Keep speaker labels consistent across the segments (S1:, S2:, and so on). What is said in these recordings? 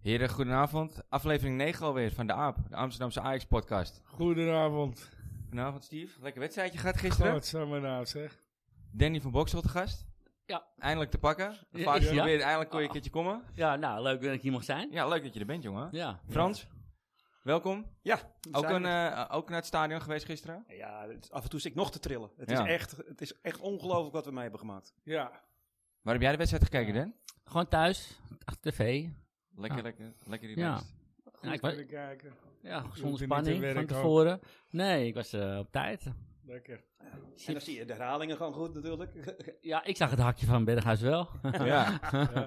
S1: Heren, goedenavond. Aflevering 9 alweer van de AAP, de Amsterdamse Ajax-podcast.
S2: Goedenavond.
S1: Goedenavond, Steve. Lekker wedstrijdje gehad gisteren.
S2: Wat zijn we nou zeg?
S1: Danny van Boksel te gast.
S3: Ja.
S1: Eindelijk te pakken.
S3: Ja,
S1: Vaak
S3: ja.
S1: geprobeerd, eindelijk kon je een
S3: Ah.
S1: keertje komen.
S3: Ja, nou, leuk dat ik hier mag zijn.
S1: Ja, leuk dat je er bent, jongen.
S3: Ja.
S1: Frans, welkom.
S4: Ja,
S1: Ook,
S4: zijn
S1: een,
S4: we.
S1: eh, ook naar het stadion geweest gisteren.
S4: ja het is- af en toe zit ik nog te trillen. Het,
S1: Ja.
S4: is, echt, het is echt ongelooflijk wat we mee hebben gemaakt.
S2: Ja,
S1: Waar heb jij de wedstrijd gekeken, Dan?
S3: Gewoon thuis, achter tv.
S1: Lekker,
S3: Ja.
S1: lekker, lekker die
S3: Ja.
S1: beest.
S3: Ja, ik
S2: goed
S3: was-
S2: kunnen kijken.
S3: ja,
S2: hoeft niet
S3: zonder
S2: te
S3: spanning van
S2: werken ook.
S3: tevoren. Nee, ik was eh, op tijd.
S2: Lekker.
S4: En dan zie je de herhalingen gewoon goed natuurlijk.
S3: Ja, ik zag het hakje van Berghuis wel.
S1: Ja.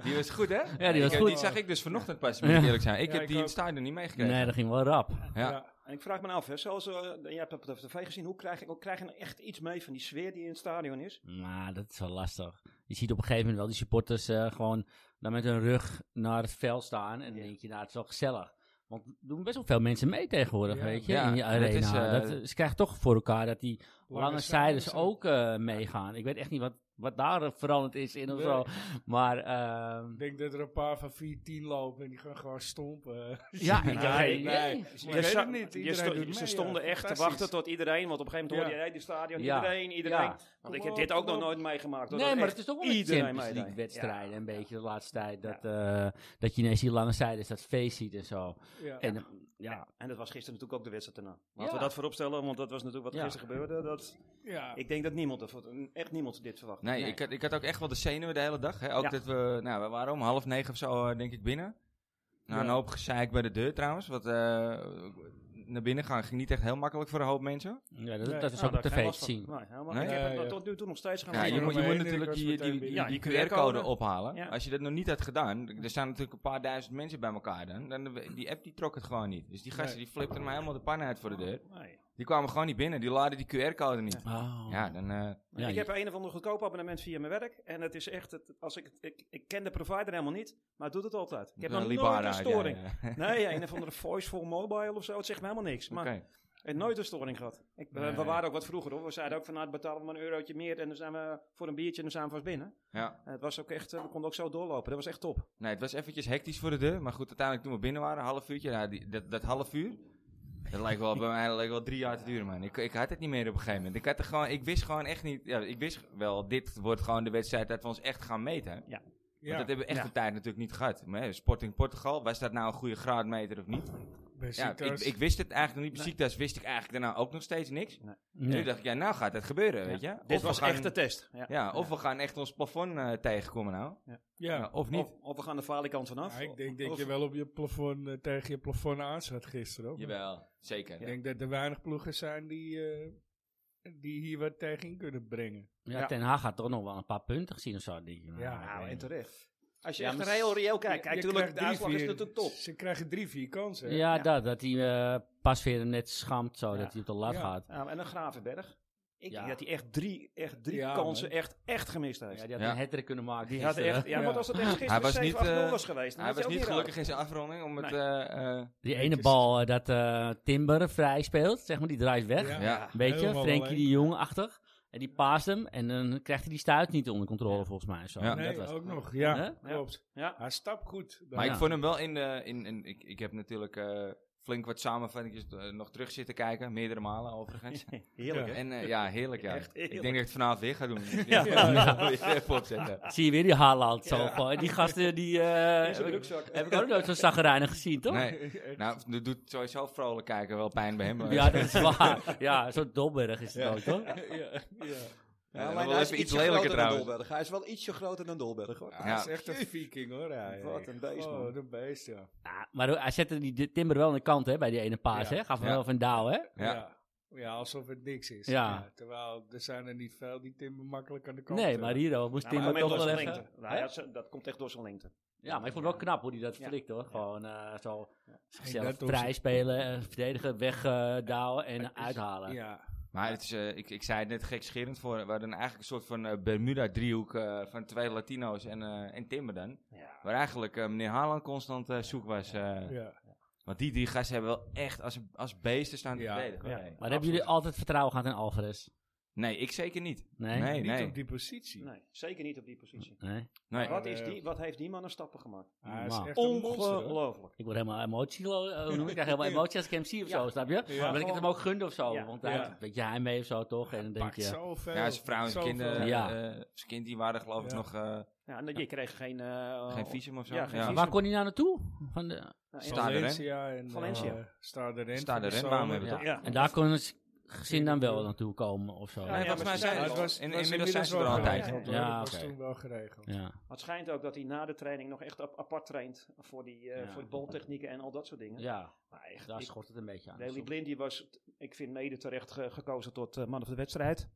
S1: die was goed, hè? Ja,
S3: die was
S1: ik,
S3: goed.
S1: Die zag ik dus vanochtend pas, moet ik
S3: Ja.
S1: eerlijk zijn. Ik
S2: Ja,
S1: heb
S2: ik
S1: die in
S2: ook.
S1: het stadion niet meegekregen.
S3: Nee, dat ging wel rap.
S1: Ja.
S4: En ik vraag me af, hè, zoals eh, jij hebt het op de tv gezien, hoe krijg, je- hoe krijg je nou echt iets mee van die sfeer die in het stadion is?
S3: Maar dat is wel lastig. Je ziet op een gegeven moment wel die supporters eh, gewoon dan met hun rug naar het veld staan. En dan
S4: Ja.
S3: denk je, nou, het is wel gezellig. Want er doen best wel veel mensen mee tegenwoordig,
S2: Ja.
S3: weet je,
S1: Ja,
S3: in je
S1: dat
S3: arena.
S1: is, eh,
S3: dat, eh, ze krijgen toch voor elkaar dat die lange, zijdes
S2: zijdes
S3: ook eh, meegaan. Ik weet echt niet wat, wat daar eh, veranderd is in of
S2: Nee.
S3: zo. Maar ehm,
S2: Ik denk dat er een paar van 4, 10 lopen en die gaan gewoon stompen.
S3: ja, ik heb geen idee.
S2: Ik weet
S4: sta-
S2: het niet.
S4: je
S2: Iedereen
S4: sto-
S2: doet
S4: ze
S2: mee,
S4: stonden
S2: ja.
S4: echt te
S2: Fantastisch.
S4: wachten tot iedereen, want op een gegeven moment
S2: Ja.
S4: hoorde je hey, die stadion,
S3: Ja.
S4: iedereen, iedereen.
S3: Ja.
S4: Want ik heb dit ook nog nooit meegemaakt. hoor,
S3: Nee,
S4: dat
S3: maar
S4: echt
S3: het is toch wel een
S4: iedereen
S3: Champions
S4: meedeed.
S3: League wedstrijden
S4: Ja.
S3: een beetje de laatste tijd. Dat, eh, dat je ineens die lange zijdes, dat feest ziet en zo.
S2: Ja.
S3: En, eh, ja,
S4: En dat was gisteren natuurlijk ook de wedstrijd daarna. Laten we
S3: Ja.
S4: dat vooropstellen, want dat was natuurlijk wat
S3: Ja.
S4: gisteren gebeurde. Dat,
S2: ja.
S4: ik denk dat niemand, dat- echt niemand dit verwacht.
S1: Nee,
S3: Nee.
S1: Ik, had, ik had ook echt wel de zenuwen de hele dag. Hè? Ook
S4: Ja.
S1: dat we, nou, we waren om half negen of zo, eh, denk ik, binnen. Nou, een hoop gezeik bij de deur trouwens. Wat eh, naar binnen gaan ging niet echt heel makkelijk voor een hoop mensen.
S3: ja dat,
S2: Nee,
S3: dat is
S4: Nou,
S3: ook op
S4: daar geen
S3: tv te
S4: last van.
S3: zien.
S4: Nee, helemaal
S1: Nee?
S4: niet. Ik heb
S2: Ja,
S4: het
S2: ja.
S4: tot nu toe nog steeds
S1: Ja,
S4: gaan
S1: je
S2: ging
S1: moet, je moet
S2: eromheen,
S1: natuurlijk
S2: ik was
S1: die,
S2: meteen
S1: die, die,
S2: binnen.
S4: Ja, die
S1: QR-code
S4: QR-code.
S1: ophalen.
S4: Ja.
S1: Als je dat nog niet had gedaan, er staan natuurlijk een paar duizend mensen bij elkaar dan. dan die app die trok het gewoon niet. Dus die gasten
S2: Nee.
S1: die flipten mij helemaal de pan uit voor de deur.
S4: Nee.
S1: Die kwamen gewoon niet binnen, die laden die QR-code niet.
S3: Oh.
S1: Ja, dan... eh,
S3: Ja,
S4: ik
S3: je-
S4: heb een of ander goedkoop abonnement via mijn werk. En het is echt, het, als ik, ik, ik ken de provider helemaal niet, maar het doet het altijd. Ik heb
S1: dan
S4: nog
S1: liep haar
S4: nooit een
S1: uit, ja,
S4: storing.
S1: ja, ja.
S4: Nee, een of andere voiceful mobile of zo, het zegt me helemaal niks. Maar
S1: Oké.
S4: ik heb nooit een storing gehad. Ik, we-
S1: Nee.
S4: We waren ook wat vroeger hoor. We zeiden ook van nou, betalen we maar een eurotje meer en dan zijn we voor een biertje en dan zijn we vast binnen.
S1: Ja.
S4: En het was ook echt, eh, we konden ook zo doorlopen. Dat was echt top.
S1: Nee, het was eventjes hectisch voor de deur. Maar goed, uiteindelijk toen we binnen waren, een half uurtje. nou, die, dat, dat half uur, dat lijkt wel, bij mij dat lijkt wel drie jaar te duren, man. Ik, ik had het niet meer op een gegeven moment. Ik, had er gewoon, ik wist gewoon echt niet... Ja, ik wist wel, dit wordt gewoon de wedstrijd dat we ons echt gaan meten. Want
S2: ja.
S1: dat hebben we echt
S4: Ja.
S1: de tijd natuurlijk niet gehad. Maar, hè, Sporting Portugal, was dat nou een goede graadmeter of niet? Ja, ik,
S2: Besiktas.
S1: ik wist het eigenlijk nog niet. Bij Ziektas wist ik eigenlijk daarna ook nog steeds niks. En nu dacht ik, ja, nou gaat het gebeuren, weet je.
S4: Dit
S1: Of we
S4: was
S1: gaan-
S4: echt de test. Ja.
S1: Ja, of we gaan echt ons plafond eh, tegenkomen nou. Ja,
S2: ja.
S1: of niet.
S4: Of, of we gaan de falikant vanaf.
S2: Ja, ik denk dat
S4: Of-
S2: je wel op je plafond, eh, tegen je plafond aan zat gisteren. Hoor.
S1: Jawel, zeker.
S2: Ik denk dat er weinig ploegen zijn die, eh, die hier wat tegen in kunnen brengen.
S3: Ja,
S4: Ja.
S3: Ten Haag had toch nog wel een paar punten gezien of zo. Denk je, nou,
S2: Ja,
S3: ik
S4: Nou,
S3: weet
S4: en
S3: niet.
S4: terecht. Als je
S3: Ja,
S4: echt
S3: maar
S4: naar heel reëel kijkt,
S2: Je-
S4: kijk,
S2: je
S4: tuurlijk,
S2: krijgt
S4: de
S2: drie,
S4: uitslag is
S2: vier-
S4: natuurlijk top.
S2: Ze krijgen drie, vier kansen. hè?
S3: ja,
S4: Ja.
S3: dat, dat hij eh, pas weer net schamt zo,
S4: Ja.
S3: dat hij op de lat
S2: Ja.
S3: gaat.
S4: Ja, Ehm, en een Gravenberg. Ik
S3: Ja.
S4: denk dat hij echt drie, echt drie
S2: Ja,
S4: kansen
S2: man.
S4: echt, echt gemist
S3: Ja,
S4: heeft.
S3: die had
S1: Ja.
S3: een hattrick kunnen maken
S4: Die had
S3: gisteren.
S4: echt, ja,
S2: Ja.
S4: want als het echt
S1: Hij
S4: gisteren
S1: was
S4: 7
S1: niet,
S4: 8 0
S1: eh,
S4: was geweest, dan
S1: Hij
S4: had
S1: was
S4: je ook
S1: niet
S4: meer
S1: gelukkig in zijn afronding. Om het,
S4: Nee.
S1: eh, eh,
S3: Die
S2: Het
S3: ene
S2: is-
S3: bal eh, dat eh, Timber vrij speelt, zeg maar, die draait weg.
S2: Ja.
S1: ja.
S3: Weet je,
S2: Helemaal
S3: Frenkie
S2: alleen.
S3: die jongachtig. En die paast hem en dan krijgt hij die stuit niet onder controle volgens mij. Zo.
S1: Ja.
S3: dat
S2: nee,
S3: was het.
S2: ook nog. Ja,
S3: Hè?
S2: klopt.
S4: Ja.
S2: Hij stapt goed.
S1: Maar ik
S3: Ja.
S1: vond hem wel in de... In, in, ik, ik heb natuurlijk eh, flink wat samenvattingen nog terug zitten kijken. Meerdere malen overigens.
S4: Heerlijk,
S2: Ja.
S4: hè?
S1: en eh, ja, heerlijk ja.
S4: Echt heerlijk.
S1: Ik denk dat ik het vanavond weer ga doen.
S4: Ja.
S1: ja. Weer even opzetten.
S3: Zie je weer die Haaland zo. van- Die gasten, die eh,
S4: In zijn
S3: heb, ik,
S4: rugzak.
S3: heb ik ook nooit zo'n zagrijnig gezien, toch?
S1: Nee. Nou, dat doet sowieso vrolijk kijken wel pijn bij hem. maar-
S3: Ja, dat is waar. Ja, zo'n domberg is het ook, toch?
S2: ja, ja.
S1: Ja, dan wel even iets lelijker trouwens.
S4: Hij is wel ietsje groter dan Dolberg. Hoor.
S2: Hij is echt een viking hoor. Hij.
S4: Wat een beest, man.
S2: Oh, Wat een beest, ja.
S3: Ja, maar hij zette die de- Timber wel aan de kant hè, bij die ene paas.
S2: Ja.
S3: Hè? Gaf hem
S1: Ja.
S3: wel van douw, hè?
S1: Ja.
S2: Ja. ja. alsof het niks is.
S3: Ja.
S2: terwijl er zijn er niet veel die Timber makkelijk aan de kant
S3: Nee,
S2: eh,
S3: maar hier moest
S4: Nou, maar
S3: Timber
S4: met
S3: toch
S4: door
S3: wel
S4: zijn
S3: even...
S4: lengte. Nou, ja, ze- dat komt echt door zijn lengte.
S3: Ja, maar ik vond het wel knap hoe hij dat
S4: Ja.
S3: flikt hoor. Gewoon eh, zo zichzelf
S2: dat doet
S3: vrij
S2: ze-
S3: spelen, eh, verdedigen, wegdouwen en uithalen.
S2: Ja.
S1: Maar het is, eh, ik, ik zei het net gekscherend voor. We hadden eigenlijk een soort van eh, Bermuda-driehoek eh, van twee Latino's en, eh, en Timber dan.
S4: Ja.
S1: Waar eigenlijk eh, meneer Haaland constant eh, zoek was. eh,
S2: Ja.
S1: Want die drie gasten hebben wel echt als, als beesten staan te
S2: Ja.
S1: verdedigen.
S4: Ja.
S1: Nee.
S3: Maar hebben jullie altijd vertrouwen gehad in Alvarez?
S1: Nee, ik zeker niet.
S3: Nee?
S1: Nee, nee.
S2: Niet
S1: nee.
S2: op die positie.
S4: Nee, zeker niet op die positie.
S3: Nee?
S4: Wat,
S2: eh,
S4: is die, wat heeft die man een stappen gemaakt?
S2: Hij is
S3: Normaal.
S2: echt een monster, hoor.
S4: Ongelooflijk.
S3: Ik word helemaal emotie, eh, hoe noem ik? ik krijg helemaal emotie als ik hem zie of
S4: Ja.
S3: zo, snap je? Maar dat ik het
S4: gewoon-
S3: hem ook gunde of zo,
S4: Ja.
S3: want hij
S2: Ja.
S3: had een beetje heimwee of zo, toch? En dan denk
S2: Pakt
S3: je,
S2: zoveel.
S1: Ja, zijn vrouw en zijn
S2: Zoveel.
S1: kinderen,
S3: Ja.
S1: eh, zijn kind, die waren geloof ik
S2: Ja.
S1: nog eh,
S4: Ja, en je kreeg geen... eh,
S1: geen visum of zo.
S4: ja, geen
S3: Maar
S4: visum.
S3: waar kon hij nou naartoe? Van de,
S4: nou,
S1: Staat er, hè?
S2: Valencia en eh,
S4: Valencia.
S2: Staat er in
S1: Staat
S2: van
S1: er
S2: de
S1: in, waarom
S2: zomer.
S1: hebben we
S3: ja.
S4: Ja.
S3: En daar kon het gezin dan wel naartoe komen of zo.
S4: Ja,
S1: Nee,
S3: Ja,
S4: ja.
S1: volgens mij
S4: maar ze
S1: zijn
S4: zijn
S1: ze
S4: er
S1: al-
S4: al.
S1: in-
S4: Het
S1: Inmiddels zijn ze er altijd.
S4: geregeld,
S2: Ja,
S3: hoor. Ja,
S2: dat was
S1: oké.
S2: toen wel geregeld.
S3: ja.
S4: Het schijnt ook dat hij na de training nog echt op, apart traint voor die eh,
S3: Ja.
S4: voor de boltechnieken en al dat soort dingen. Maar echt,
S3: daar
S4: ik-
S3: schort het een beetje aan.
S4: Daley Blind die was, t- ik vind, mede terecht ge- gekozen tot eh, man of de wedstrijd.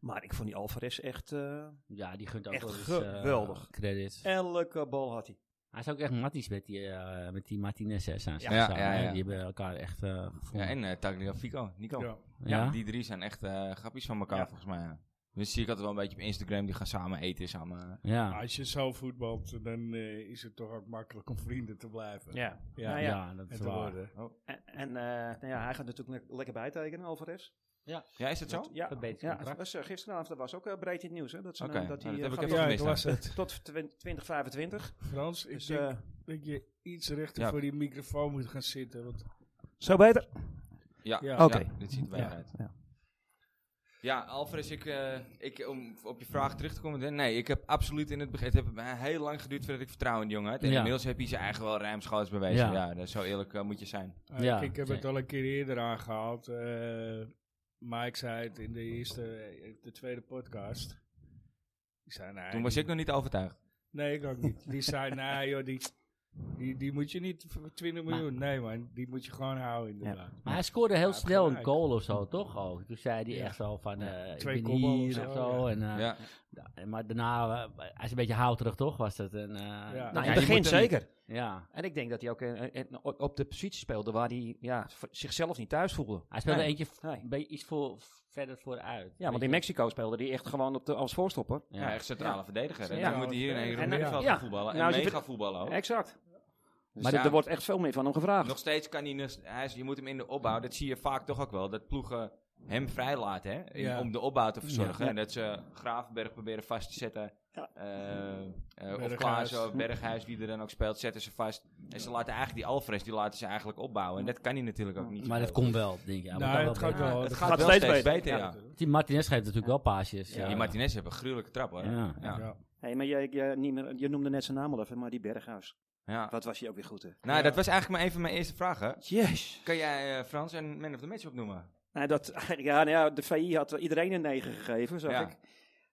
S4: Maar ik vond die Alvarez echt... eh,
S3: Ja, die gunt ook
S4: Echt
S3: wel eens, eh,
S4: geweldig.
S3: credits.
S4: elke bal had hij.
S3: Hij is ook echt matties met die, eh, met die Martinez hè, zijn ze
S1: Ja,
S3: samen,
S1: ja,
S3: hè.
S1: ja.
S3: Die hebben elkaar echt eh,
S1: Ja,
S3: gevonden.
S1: en eh Tagliafico, Nico.
S2: Ja.
S1: Ja,
S3: Ja?
S1: die drie zijn echt eh grappies van elkaar
S4: Ja.
S1: volgens mij. ja. Dus zie ik altijd wel een beetje op Instagram, die gaan samen eten, samen...
S3: Ja.
S2: Als je zo voetbalt, dan eh, is het toch ook makkelijk om vrienden te blijven.
S4: Ja.
S2: Ja.
S4: Nou ja,
S3: Ja, dat
S2: En
S3: is
S2: te
S3: waar.
S2: worden.
S1: oh.
S4: En, en eh, nou ja, hij gaat natuurlijk le- lekker bijtekenen, Alvarez.
S1: Ja, is dat zo?
S4: Ja,
S3: Verbeterd
S4: ja het
S3: contract.
S4: was, eh, gisteravond dat was ook eh, breed in het nieuws. Hè, dat ze,
S1: Oké,
S4: eh,
S1: nou,
S4: dat hij,
S1: dat
S4: eh,
S1: heb
S4: gaat
S1: even
S2: Ja, ik
S1: gemist,
S2: las het.
S4: tot twin- 2025.
S2: Frans, ik
S4: Dus,
S2: denk
S4: eh,
S2: dat je iets rechter
S1: Ja.
S2: voor die microfoon moet gaan zitten. Want
S4: zo beter.
S1: Ja,
S2: Ja.
S1: ja,
S4: Oké.
S1: dit ziet er wel uit.
S4: ja.
S1: Ja, Alvarez, ik, eh, ik, om op je vraag terug te komen. hè, Nee, ik heb absoluut in het begin... Het heeft mij heel lang geduurd voordat ik vertrouwen in die jongen had. En
S3: Ja.
S1: inmiddels heb hij zijn eigen wel ruimschoots bewezen.
S3: Ja.
S1: Ja, dat- zo eerlijk eh, moet je zijn.
S2: eh,
S3: Ja,
S2: ik heb het
S3: zeker.
S2: al een keer eerder aangehaald. eh, Mike zei het in de eerste, eh, de tweede podcast. Die zei, nee,
S1: Toen was ik nog niet overtuigd.
S2: Nee, ik ook niet. Die zei, nee joh, die, die, die moet je niet voor 20 miljoen. Nee man, die moet je gewoon houden inderdaad.
S3: Maar hij scoorde heel
S2: Ja,
S3: snel een
S2: gelijk.
S3: goal of zo, toch ook? Toen zei hij
S2: Ja.
S3: echt zo van, eh ik
S2: Twee
S3: ben
S2: kopbal of
S3: hier
S2: zo,
S3: of zo. En, eh,
S1: ja.
S3: da- en Maar daarna, eh, hij is een beetje houterig, toch? Was dat? En, eh, nou,
S4: Nou, in
S1: ja,
S4: het
S1: je
S4: begin
S1: moet hem
S4: zeker.
S3: ja.
S4: En ik denk dat hij ook eh, eh, eh, op op de positie speelde waar hij ja, v- zichzelf niet thuis voelde.
S3: Hij speelde
S1: Nee.
S3: eentje f-
S4: Nee.
S3: een beetje iets voor, verder vooruit.
S4: Ja, want in Mexico speelde hij echt gewoon op de, als voorstopper.
S1: Ja, echt centrale verdediger. hè.
S2: Ja.
S1: Dan moet hij hier in
S2: Ja.
S1: een
S4: En, eh,
S1: middenveld
S4: ja.
S1: gaan voetballen. En
S4: Nou, als je
S1: mee
S4: ver-
S1: gaan voetballen ook.
S4: Exact.
S1: Dus
S4: maar
S1: ja,
S4: er- er wordt echt veel meer van hem gevraagd.
S1: Nog steeds kan hij... dus- hij is- Je moet hem in de opbouw... Dat zie je vaak toch ook wel. Dat ploegen hem vrij laten. Hè, in-
S2: Ja.
S1: Om de opbouw te verzorgen.
S4: Ja.
S1: En dat ze Gravenberg proberen vast te zetten.
S4: Ja.
S1: eh, eh, of
S2: Berghuis.
S1: Klaas of Berghuis, wie er dan ook speelt, zetten ze vast. En ze laten eigenlijk die Alvarez, die laten ze eigenlijk opbouwen. En dat kan hij natuurlijk ook niet.
S3: Maar dat komt wel, denk ik. Ja,
S2: Nou,
S3: maar
S2: het gaat wel.
S1: het
S2: dat
S1: gaat
S4: wel steeds beter,
S1: ja.
S3: Die Martinez geeft natuurlijk wel paasjes. eh,
S1: Ja, die Martinez hebben een gruwelijke trap hoor.
S3: Ja.
S1: Ja.
S2: Ja.
S4: Hey, maar jij, jij niet meer, je noemde net zijn naam al even, maar die Berghuis.
S1: Ja.
S4: Wat was hij ook weer goed, hè?
S1: Nou, dat was eigenlijk maar een van mijn eerste vragen.
S4: Yes.
S1: Kan jij eh, Frans en Man of the Match opnoemen?
S4: Nou, dat, ja, nou ja, de VI had iedereen een 9 gegeven, zag
S1: Ja.
S4: ik.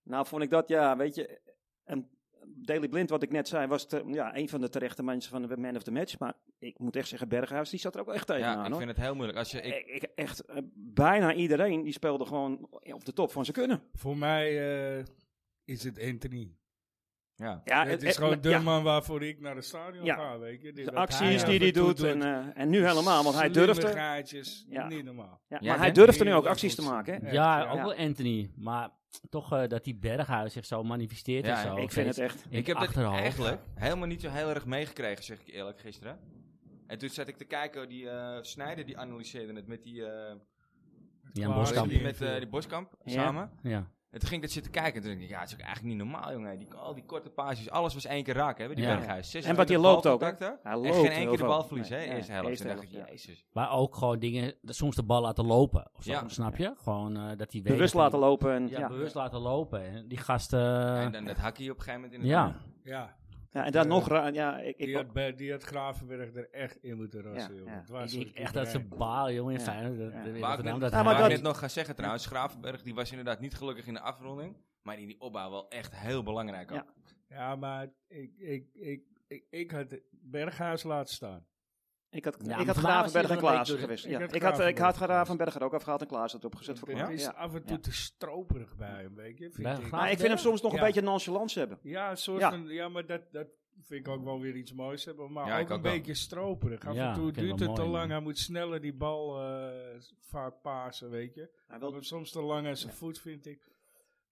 S4: Nou, vond ik dat, ja, weet je... En Daily Blind, wat ik net zei, was te- ja, een van de terechte mensen van de man of the match. Maar ik moet echt zeggen, Berghuis, die zat er ook echt tegenaan,
S1: Ja, ik
S4: hoor.
S1: vind het heel moeilijk. Als je, ik,
S4: Ik, ik- echt, eh, bijna iedereen die speelde gewoon op de top van zijn kunnen.
S2: Voor mij eh, is het Anthony.
S1: ja.
S4: Ja,
S2: het is gewoon de
S4: ja,
S2: man waarvoor ik naar het stadion
S4: Ja.
S2: ga, weet je. Dit-
S4: de
S2: wat
S4: acties
S2: af
S4: die hij
S2: en toe
S4: doet en, eh, en nu helemaal, want hij durfde.
S2: Slimmigheidjes,
S4: Ja.
S2: niet normaal.
S4: Ja,
S1: Ja,
S4: maar hij
S1: hè?
S4: durfde nu
S2: Die
S4: ook
S2: was
S4: acties te
S2: goed.
S4: maken. Hè?
S2: Ja.
S3: Ja, ook
S4: Ja.
S3: wel Anthony. Maar toch eh, dat die Berghuis zich zo manifesteert
S1: Ja,
S3: en zo.
S4: Ik vind het echt.
S1: Ik heb het
S3: achterhoofd.
S1: eigenlijk helemaal niet zo heel erg meegekregen, zeg ik eerlijk, gisteren. En toen zat ik te kijken, die eh Snijder die analyseerde het met die, eh
S3: Jan
S2: Klaar,
S3: Boskamp.
S2: die-
S1: met, eh, die Boskamp
S4: Ja.
S1: samen.
S3: Ja.
S1: En toen ging ik dat zitten kijken en toen dacht ik, ja, het is ook eigenlijk niet normaal, jongen. Die, al die korte paasjes, alles was één keer raak, hè, bij die
S3: Ja.
S1: Berghuis.
S4: En wat hij loopt ook, hè? Hij
S1: En
S4: loopt
S1: geen
S4: heel
S1: één keer de
S4: veel.
S1: bal verlies, hè,
S4: Nee,
S1: eerste
S4: nee,
S1: helft.
S4: eerste
S1: Toen dacht ik,
S4: helft, ja.
S1: jezus.
S3: Maar ook gewoon dingen, dat soms de bal laten lopen. Of zo,
S1: Ja.
S3: snap je? Gewoon eh, dat hij weet.
S4: Bewust
S3: dat hij-
S4: laten lopen. En,
S3: Ja,
S4: ja.
S3: bewust laten lopen. En die gasten.
S1: En dan dat hakje op een gegeven moment in het
S3: ja.
S1: doel.
S2: Ja,
S4: Ja, en dan
S2: Eh,
S4: nog. ra- Ja, ik, ik,
S2: die had, Be- die had Gravenberg er echt in moeten rassen,
S4: Ja,
S2: joh.
S4: ja.
S2: Het was
S3: Ik denk
S2: voor
S3: echt dat ze
S2: iedereen.
S3: baal, jongen, in
S4: Ja.
S3: Feyenoord. dat-
S4: Ja.
S3: dat- in
S1: Waar ik,
S3: Rotterdam,
S1: net,
S3: dat
S4: Ja, maar
S1: waar Nou, ik
S3: hij-
S1: net nog gaan zeggen trouwens, Gravenberg die was inderdaad niet gelukkig in de afronding. Maar in die opbouw wel echt heel belangrijk ook.
S4: Ja.
S2: Ja, maar ik, ik, ik, ik, ik had Berghuis laten staan.
S4: ik had,
S3: Ja,
S4: ik
S3: maar
S4: had
S3: voor mij was hij
S4: Gravenberg en
S3: wel een
S4: Klaas
S3: beetje-
S4: gewist.
S2: Ik
S4: Ja.
S2: had
S4: Ik had, eh, ik had
S2: Gravenberg.
S4: Gravenberg er ook afgehaald en Klaas had opgezet voor
S2: Het
S4: Klaas.
S2: is
S4: Ja.
S2: af en toe
S4: Ja.
S2: te stroperig bij hem, weet je. Vind
S3: Bij
S2: ik.
S3: Graaf-
S4: Maar ik vind hem soms nog een
S2: Ja.
S4: beetje nonchalance hebben.
S2: Ja, een soort
S4: Ja.
S2: van, ja maar dat, dat vind ik ook wel weer iets moois hebben. Maar
S1: Ja, ik
S2: ook een
S1: ook wel.
S2: beetje stroperig. Af
S3: Ja,
S2: en
S3: ik
S2: toe
S3: vind
S2: duurt
S3: het wel
S2: het te
S3: mooi,
S2: lang.
S3: man.
S2: Hij moet sneller die bal eh, vaak pasen, weet je.
S4: Hij
S2: Hij
S4: wil
S2: loopt soms te lang aan zijn voet, vind ik.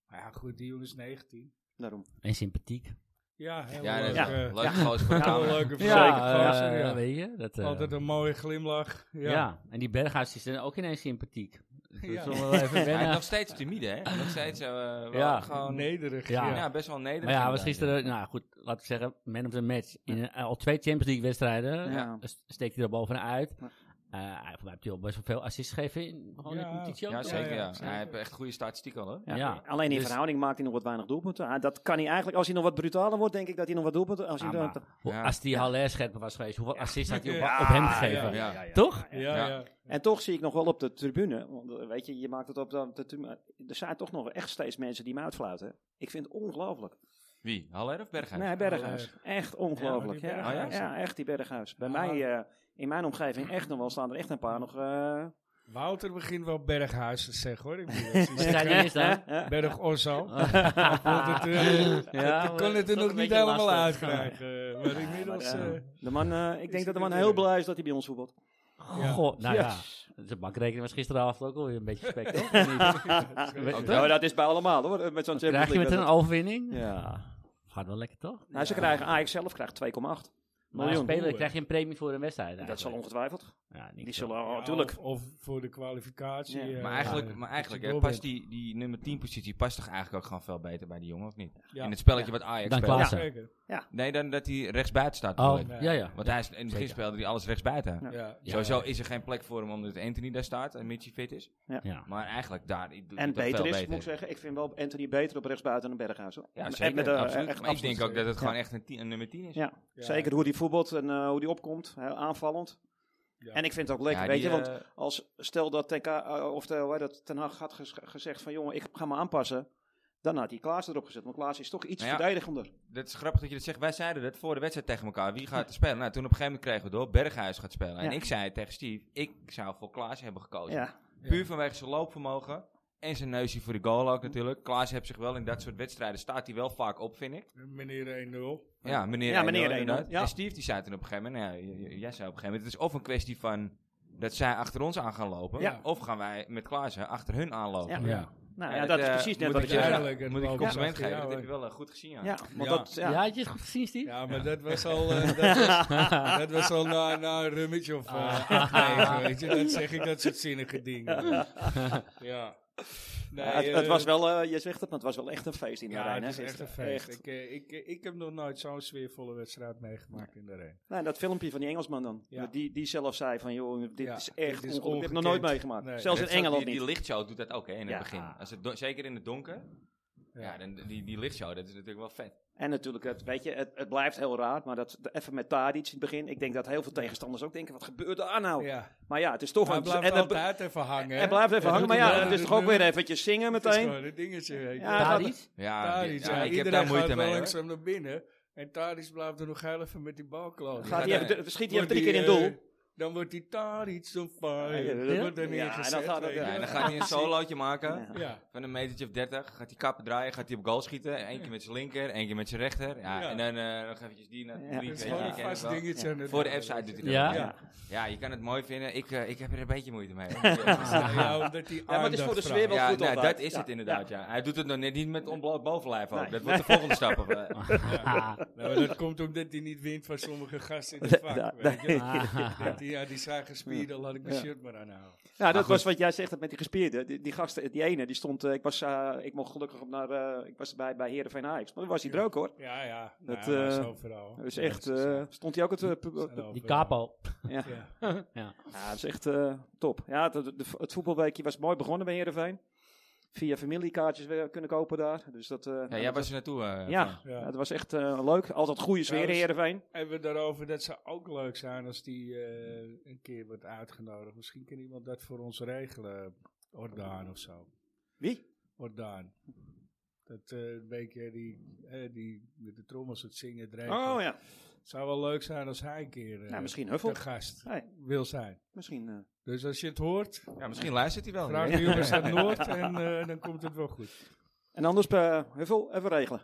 S2: Maar ja, goed, die jongen is 19.
S4: daarom.
S3: En sympathiek.
S2: Ja, heel
S1: Ja,
S2: leuk.
S1: dat
S4: Ja.
S1: ja.
S2: eh,
S1: leuk gozer voor de
S2: heel
S1: camera.
S2: leuke
S3: Ja,
S2: vrolijke gozer,
S3: eh,
S2: ja.
S3: weet je. Dat, eh,
S2: Altijd een mooie glimlach. Ja.
S3: ja. en die Berghuis is dan ook ineens sympathiek. Dat
S2: Ja.
S3: is wel even
S1: Hij is
S3: wennen.
S1: nog steeds timide, hè? Nog steeds eh, wel
S3: Ja.
S1: gewoon...
S2: nederig.
S3: Ja.
S1: Ja.
S2: ja.
S1: best wel nederig.
S3: Maar ja, hij was
S1: inderdaad,
S3: gisteren, nou goed, laten we zeggen, man of the match. In eh, al twee Champions League wedstrijden
S4: Ja.
S3: s- steekt hij er bovenuit.
S4: Ja.
S3: Eh, hij- voor mij heeft hij al best wel veel assists gegeven in gewoon
S2: Ja.
S3: in competitie.
S1: ja.
S3: ook,
S1: Ja,
S3: toch?
S1: zeker.
S2: Ja,
S1: Ja,
S2: ja, zeker.
S1: Hij heeft echt goede statistieken al, hoor.
S4: Ja.
S3: Ja.
S4: Alleen in
S3: Dus-
S4: verhouding maakt hij nog wat weinig doelpunten. Ah, dat kan hij eigenlijk, als hij nog wat brutaler wordt, denk ik dat hij nog wat doelpunten... Als hij
S3: Ah,
S4: dan-
S3: maar hoe-
S1: Ja.
S3: Als die Haller scherper was geweest, hoeveel assists had hij op,
S2: Ja.
S3: op hem gegeven?
S1: Ja.
S3: Toch?
S2: Ja,
S1: Ja.
S2: ja.
S4: En toch zie ik nog wel op de tribune, want eh, weet je, je maakt het op de, de tribune. Er zijn toch nog echt steeds mensen die hem uitfluiten. hè. Ik vind het ongelooflijk.
S1: Wie? Haller of Berghuis?
S4: Nee, Berghuis. Echt ongelooflijk.
S2: Ja,
S4: Ja,
S2: maar
S1: die
S4: ja,
S1: Berghuis.
S4: echt die Berghuis. Bij
S2: Ah.
S3: Nou,
S4: mij, eh, in mijn omgeving, echt nog wel, staan er echt een paar nog. eh,
S2: Wouter begint wel Berghuis te zeggen hoor. Ik bedoel, als hij
S3: Wat sta je
S2: zegt,
S3: is dan?
S2: eh, Berg Orzo.
S3: Ah. ja,
S2: Want het, eh,
S3: maar
S2: ik kon
S3: het
S2: het er nog
S3: is toch een
S2: niet
S3: beetje
S2: helemaal
S3: lastig.
S2: uitkrijgen. eh, Maar
S4: maar,
S2: inmiddels...
S4: eh,
S2: eh,
S4: de man, eh, ik
S2: hij
S4: denk dat de man
S2: er
S4: heel
S2: weer?
S4: blij is dat hij bij ons voetbalt.
S2: Ja.
S3: Goh, nou ja.
S4: Yes.
S3: De bankrekening was gisteravond ook alweer een beetje spek, toch? Of niet?
S4: Ja,
S3: Oh, dat-
S4: maar dat is bij allemaal hoor. eh, Met zo'n
S3: Krijg je
S4: Champions
S3: met een
S4: League
S3: overwinning?
S4: dat- Ja.
S3: Gaat wel lekker, toch?
S4: Nou, ze krijgen, Ajax zelf krijgt 2,8.
S3: Maar als
S4: Miljoen.
S3: speler
S2: Oeh.
S3: krijg je een premie voor een wedstrijd
S4: Dat zal
S3: eigenlijk.
S4: ongetwijfeld.
S3: Ja, niks
S4: Die
S3: hoor.
S4: zullen,
S2: ja,
S4: oh, tuurlijk.
S2: Of, of voor de kwalificatie.
S4: Ja.
S2: eh,
S1: Maar eigenlijk,
S2: dat
S1: maar
S2: je
S1: eigenlijk hè,
S2: door
S1: past
S2: bent.
S1: die, die nummer 10 positie past toch eigenlijk ook gewoon veel beter bij die jongen, of niet?
S2: Ja.
S1: In het spelletje wat Ajax
S3: Dan
S1: speelt.
S3: Klaas.
S2: Ja,
S3: Ja.
S2: zeker.
S1: Nee, dan dat hij rechtsbuiten staat.
S3: Oh,
S1: bedoel ik.
S3: ja, ja.
S1: Want hij is, in het begin
S3: Zeker.
S1: speelde hij alles rechtsbuiten.
S4: Ja.
S2: Ja.
S3: Ja.
S1: Sowieso is er geen plek voor hem omdat Anthony daar staat en Mitchie fit is.
S3: Ja.
S1: Maar eigenlijk daar doet hij
S4: En
S1: dat
S4: beter
S1: veel
S4: is,
S1: beter.
S4: moet ik zeggen, ik vind wel Anthony beter op rechtsbuiten dan Berghuis. hoor.
S1: Ja,
S4: En- en
S1: zeker.
S4: met, eh,
S1: absoluut.
S4: echt
S1: maar ik
S4: absoluut.
S1: denk ook dat het
S4: Ja.
S1: gewoon echt een, tien- een nummer 10 is.
S4: Ja.
S2: Ja.
S4: Zeker hoe die voetbalt en eh, hoe die opkomt. Heel aanvallend.
S2: Ja.
S4: En ik vind het ook lekker,
S1: Ja,
S4: weet
S1: die,
S4: je. Want
S1: eh,
S4: als, stel dat, TK, eh, of de, hoe heet dat Ten Hag had ges- gezegd van... jongen, ik ga me aanpassen. Dan had hij Klaas erop gezet. Want Klaas is toch iets
S1: Nou ja.
S4: verdedigender.
S1: dat is grappig dat je dat zegt. Wij zeiden dat voor de wedstrijd tegen elkaar. Wie gaat er spelen? Nou, toen op een gegeven moment kregen we door. Berghuis gaat spelen. En
S4: Ja.
S1: ik zei tegen Steve, ik zou voor Klaas hebben gekozen.
S4: Ja,
S2: Ja.
S1: Puur vanwege zijn loopvermogen. En zijn neusje voor de goal ook natuurlijk. Klaas heeft zich wel in dat soort wedstrijden staat hij wel vaak op, vind ik.
S2: Meneer 1-0.
S1: Ja, meneer
S4: Ja, meneer
S1: 1-0
S4: 1-0,
S1: inderdaad.
S4: ja.
S1: En Steve die zei toen op een gegeven moment, nou, ja, j- j- jij zei op een gegeven moment, het is of een kwestie van dat zij achter ons aan gaan lopen.
S4: Ja.
S1: Of gaan wij met Klaas hè, achter hun aanlopen.
S4: Ja.
S3: Ja.
S4: nou, ja, dat is
S1: eh,
S4: precies net
S1: moet
S4: wat ik
S1: ik
S4: zei.
S1: zeggen.
S4: Ja,
S2: Eigenlijk een
S1: Moet ik een
S2: loop-
S1: compliment
S2: Ja,
S1: geven?
S2: ja,
S1: dat heb
S2: ja.
S1: je wel eh, goed gezien, ja.
S4: want
S2: Ja.
S4: dat...
S3: Ja,
S4: Ja.
S3: had je het goed gezien, Steve?
S2: Ja, maar dat was al, eh, dat was,
S1: Ah.
S2: dat was al na, na een rummetje of eh, acht, negen, weet je. Dan zeg ik dat soort zinnige dingen. ja. Nee,
S4: Ja, het, het
S2: eh,
S4: was wel, eh, je zegt het, maar het was wel echt een feest in de
S2: Ja,
S4: Rijn.
S2: het
S4: hè,
S2: is echt een
S4: gisteren.
S2: feest.
S4: Echt.
S2: Ik, eh, ik, eh, ik heb nog nooit zo'n sfeervolle wedstrijd meegemaakt in de Rijn.
S4: Nou, dat filmpje van die Engelsman dan.
S2: Ja.
S4: Die, die zelf zei van, joh, dit
S2: Ja,
S4: is echt
S2: dit is
S4: ongelooflijk. Ik heb
S2: ongekend.
S4: nog nooit meegemaakt.
S2: Nee.
S4: Zelfs in
S1: Dat is ook-
S4: Engeland
S1: die,
S4: niet.
S1: Die lichtshow doet dat ook hè, in het
S4: Ja.
S1: begin. Als het do- zeker in het donker.
S2: Ja.
S1: Ja, dan, die, die lichtshow, dat is natuurlijk wel vet.
S4: En natuurlijk, het, weet je, het, het blijft heel raar. Maar dat, de- even met Tadic in het begin. Ik denk dat heel veel tegenstanders ook denken, wat gebeurt daar nou?
S2: Ja.
S4: Maar ja, het is toch
S2: Maar
S4: een...
S2: het blijft
S4: en het-
S2: altijd even hangen. hè.
S4: Hij blijft even
S2: Het
S4: hangen,
S2: doet
S4: maar ja,
S2: wel,
S4: het is
S2: doet
S4: toch ook
S2: nu.
S4: weer eventjes zingen
S2: Het is
S4: meteen.
S2: gewoon een dingetje, weet je.
S4: Ja, het
S3: Tadic?
S1: Ja,
S2: Tadic,
S1: ja,
S2: ja,
S1: ik heb
S2: iedereen
S1: daar
S2: gaat
S1: moeite
S2: wel
S1: mee. hoor.
S2: langzaam naar binnen. En Tadic blijft er nog heel even met die bal kloten.
S4: Gaat hij
S1: Ja,
S4: even, schiet hij even
S2: Wordt
S4: drie keer in
S2: die,
S4: doel.
S2: eh, dan wordt die Tadic on
S4: Ja,
S2: fire.
S4: ja,
S2: Dan
S4: ja.
S2: wordt er
S4: Ja,
S2: neergezet.
S4: dan gaat het-
S2: weet je.
S1: Ja, en dan gaat hij een solootje maken.
S4: Ja.
S2: Ja.
S1: Van een metertje of 30 gaat hij kappen draaien, gaat hij op goal schieten. Eén keer met zijn linker, één keer met zijn rechter. Ja,
S2: Ja.
S1: En dan eh, nog eventjes die naar
S4: Ja.
S1: drie,
S4: Dat
S2: Het
S1: weet
S2: is
S1: je,
S2: gewoon
S1: je
S2: een
S1: kent het
S2: vast
S1: wel.
S2: dingetje. aan het-
S1: Voor de F-side doet hij dat.
S3: Ja?
S1: Ja?
S2: Ja.
S1: Ja. je kan het mooi vinden. Ik, eh, ik heb er een beetje moeite mee. hoor. ja,
S2: Ja, omdat die
S4: maar het is voor de
S2: aandacht
S4: sfeer wel
S2: vraagt.
S1: ja,
S4: goed
S1: nou,
S4: altijd.
S1: dat is
S4: Ja.
S1: het inderdaad. Ja. Hij doet het nog net niet met onbloot bovenlijf ook.
S4: Nee.
S1: Dat wordt de volgende stap. of, eh,
S2: Nou, maar dat komt omdat hij niet wint van sommige gasten in het
S4: Ja,
S2: vak. Weet je.
S3: Ah.
S2: Dat die, ja, die zijn gespierd, dan laat ik mijn
S4: nou, Ja.
S2: shirt maar aanhouden.
S4: Nou, dat
S1: goed.
S4: was wat jij zegt dat met die gespierde. Die, die gasten, die ene, die stond. eh, ik, was, eh, ik mocht gelukkig op naar. eh, ik was bij, bij Heerenveen Ajax. Maar dan was hij er ook hoor.
S2: Ja, ja.
S4: Dat,
S2: nou, dat is
S4: eh,
S2: overal.
S4: Dat is
S2: Ja,
S4: echt.
S2: ze zijn-
S4: eh, stond hij ook het. eh, pu-
S2: ze zijn
S3: Die
S2: overal.
S3: kapo.
S4: ja.
S2: Ja.
S4: ja, dat is echt eh, top. Ja, het, de- het voetbalweekje was mooi begonnen bij Heerenveen. Via familiekaartjes weer kunnen kopen daar. Dus dat. eh,
S1: ja, jij was er naartoe. eh,
S4: ja,
S1: Frank.
S2: Ja.
S4: het was echt eh, leuk. Altijd goede sfeer in
S2: Trouwens-
S4: Heerenveen.
S2: Hebben we daarover dat ze ook leuk zijn als die eh, een keer wordt uitgenodigd. Misschien kan iemand dat voor ons regelen. Ordaan of zo.
S4: Wie?
S2: Ordaan. Dat eh, een beetje die, eh, die met de trommels het zingen dreigt.
S4: Oh ja,
S2: zou wel leuk zijn als hij een keer eh,
S4: nou, misschien
S2: de
S4: Huffel.
S2: gast
S4: Hey.
S2: wil zijn.
S4: Misschien. eh,
S2: Dus als je het hoort,
S4: Oh,
S1: Ja, misschien luistert hij wel.
S2: vraag de jongens uit Noord en eh, dan komt het wel goed.
S4: en anders, eh, Huffel, even regelen.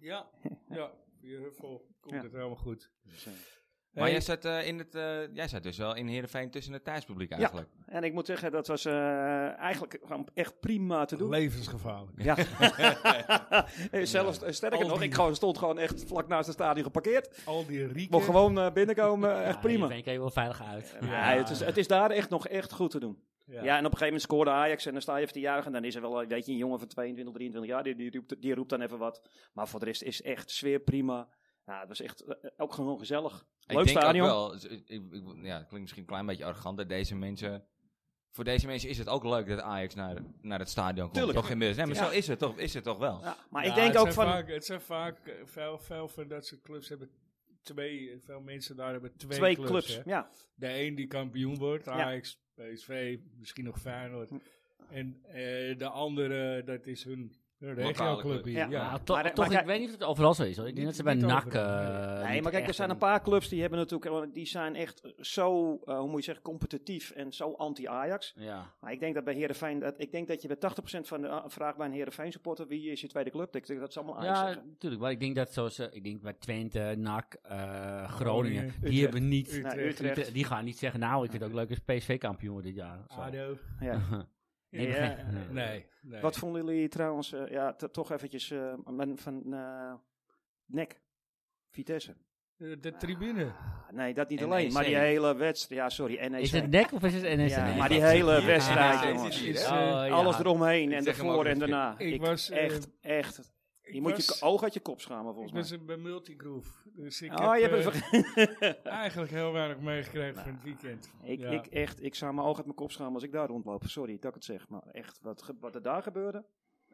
S2: Ja, ja. Je huffel, komt
S4: Ja.
S2: het helemaal goed.
S4: Dus, eh,
S1: Maar
S2: Hey.
S1: jij zat, eh, in het, eh, jij zat dus wel in Heerenveen tussen het thuispubliek eigenlijk.
S4: En ik moet zeggen, dat was eh, eigenlijk gewoon echt prima te doen.
S2: Levensgevaarlijk.
S4: ja. Eh, Zelfs, eh, sterker
S2: Al
S4: nog,
S2: die-
S4: ik gewoon, stond gewoon echt vlak naast het stadion geparkeerd.
S2: Al die
S4: Ik
S2: rieken.
S4: mocht gewoon eh, binnenkomen, echt prima.
S3: Ik keek wel veilig uit.
S4: Ja, het, is, het is daar echt nog echt goed te doen. Ja. en op een gegeven moment scoorde Ajax en dan sta je even te juichen. En dan is er wel eh, weet je, een jongen van 22, 23 jaar, die, die, roept, die roept dan even wat. Maar voor de rest is echt sfeer prima. Ja, het was echt eh, ook gewoon gezellig.
S1: Ik
S4: Leuk
S1: denk ook
S4: stadion.
S1: wel, z- ik, ik- ik- ja, het klinkt misschien een klein beetje arrogant, dat deze mensen... Voor deze mensen is het ook leuk dat Ajax naar, naar het stadion komt.
S4: Tuurlijk.
S1: Toch inmiddels. Nee, maar
S4: Ja.
S1: zo is het toch, is het toch wel.
S4: Ja, maar ik
S2: Ja,
S4: denk
S2: het
S4: ook
S2: zijn
S4: van...
S2: Vaak, het zijn vaak eh, veel, veel van dat soort clubs hebben twee, veel mensen daar hebben twee,
S4: twee
S2: clubs.
S4: clubs.
S2: hè.
S4: Ja,
S2: De een die kampioen wordt, Ajax, PSV, misschien nog Feyenoord. En eh, de andere, dat is hun, hun
S1: Lokale
S2: regioclub
S1: club.
S2: hier.
S4: Ja.
S2: Ja.
S3: Ja,
S2: Ja.
S3: to-
S4: Maar, eh,
S3: toch,
S4: maar
S3: ik
S4: kijk-
S3: weet niet of het overal zo is. Hoor. Ik
S2: Niet-
S3: denk dat ze bij
S2: niet
S3: NAC...
S2: overal,
S3: eh,
S4: nee,
S3: niet
S4: maar kijk, er
S3: echt
S4: zijn een paar clubs die hebben natuurlijk, eh, die zijn echt zo, eh, hoe moet je zeggen, competitief en zo anti-Ajax.
S3: Ja.
S4: Maar ik denk dat bij Herenveen, dat, ik denk dat je bij 80% van de eh, vraag bij een Herenveen supporter, wie is je tweede club? Ah, Ik denk dat ze allemaal Ajax
S3: Ja,
S4: zeggen.
S3: natuurlijk. Maar ik denk dat zoals... eh, ik denk bij Twente, NAC, eh, Groningen...
S2: Groningen,
S3: die hebben niet...
S2: Utrecht.
S4: Nou, Utrecht.
S3: Utrecht, Die gaan niet zeggen... Nou, ik vind het ook leuk als PSV kampioen wordt dit jaar. Zo.
S2: ADO.
S4: Ja.
S3: Nee,
S4: Ja,
S3: begrijp-
S4: eh,
S2: Ah, Nee, nee.
S4: Wat vonden jullie trouwens, eh, ja, t- toch eventjes eh, van- van eh Nek, Vitesse?
S2: De, de tribune.
S4: Ah, Nee, dat niet
S1: NEC.
S4: alleen, maar die hele wedstrijd, ja sorry, NEC.
S3: Is het NEC of is het NEC?
S4: Ja,
S3: Nee,
S4: maar
S3: dat
S4: die
S3: is-
S4: hele
S3: Ja.
S4: wedstrijd,
S1: NEC
S4: jongens.
S1: zit hier, hè?
S3: Oh, ja.
S4: eh, Alles eromheen
S1: Ik
S4: en
S1: zeg hem
S4: ervoor
S1: ook
S4: en
S1: eens,
S4: daarna.
S2: ik
S4: Ik
S2: was,
S4: was
S2: eh,
S4: echt, echt. Je
S2: ik
S4: moet
S2: was-
S4: je k- oog uit je kop schamen
S2: Ik
S4: volgens
S2: was
S4: mij.
S2: een- bij Multigroove. Dus ik
S4: oh, je
S2: heb
S4: hebt het
S2: eh,
S4: vergeten.
S2: eigenlijk heel weinig meegekregen van het weekend.
S4: ik,
S2: Ja.
S4: ik, echt, ik zou mijn oog uit mijn kop schamen als ik daar rondloop. Sorry dat ik het zeg, maar echt, wat, ge- wat er daar gebeurde.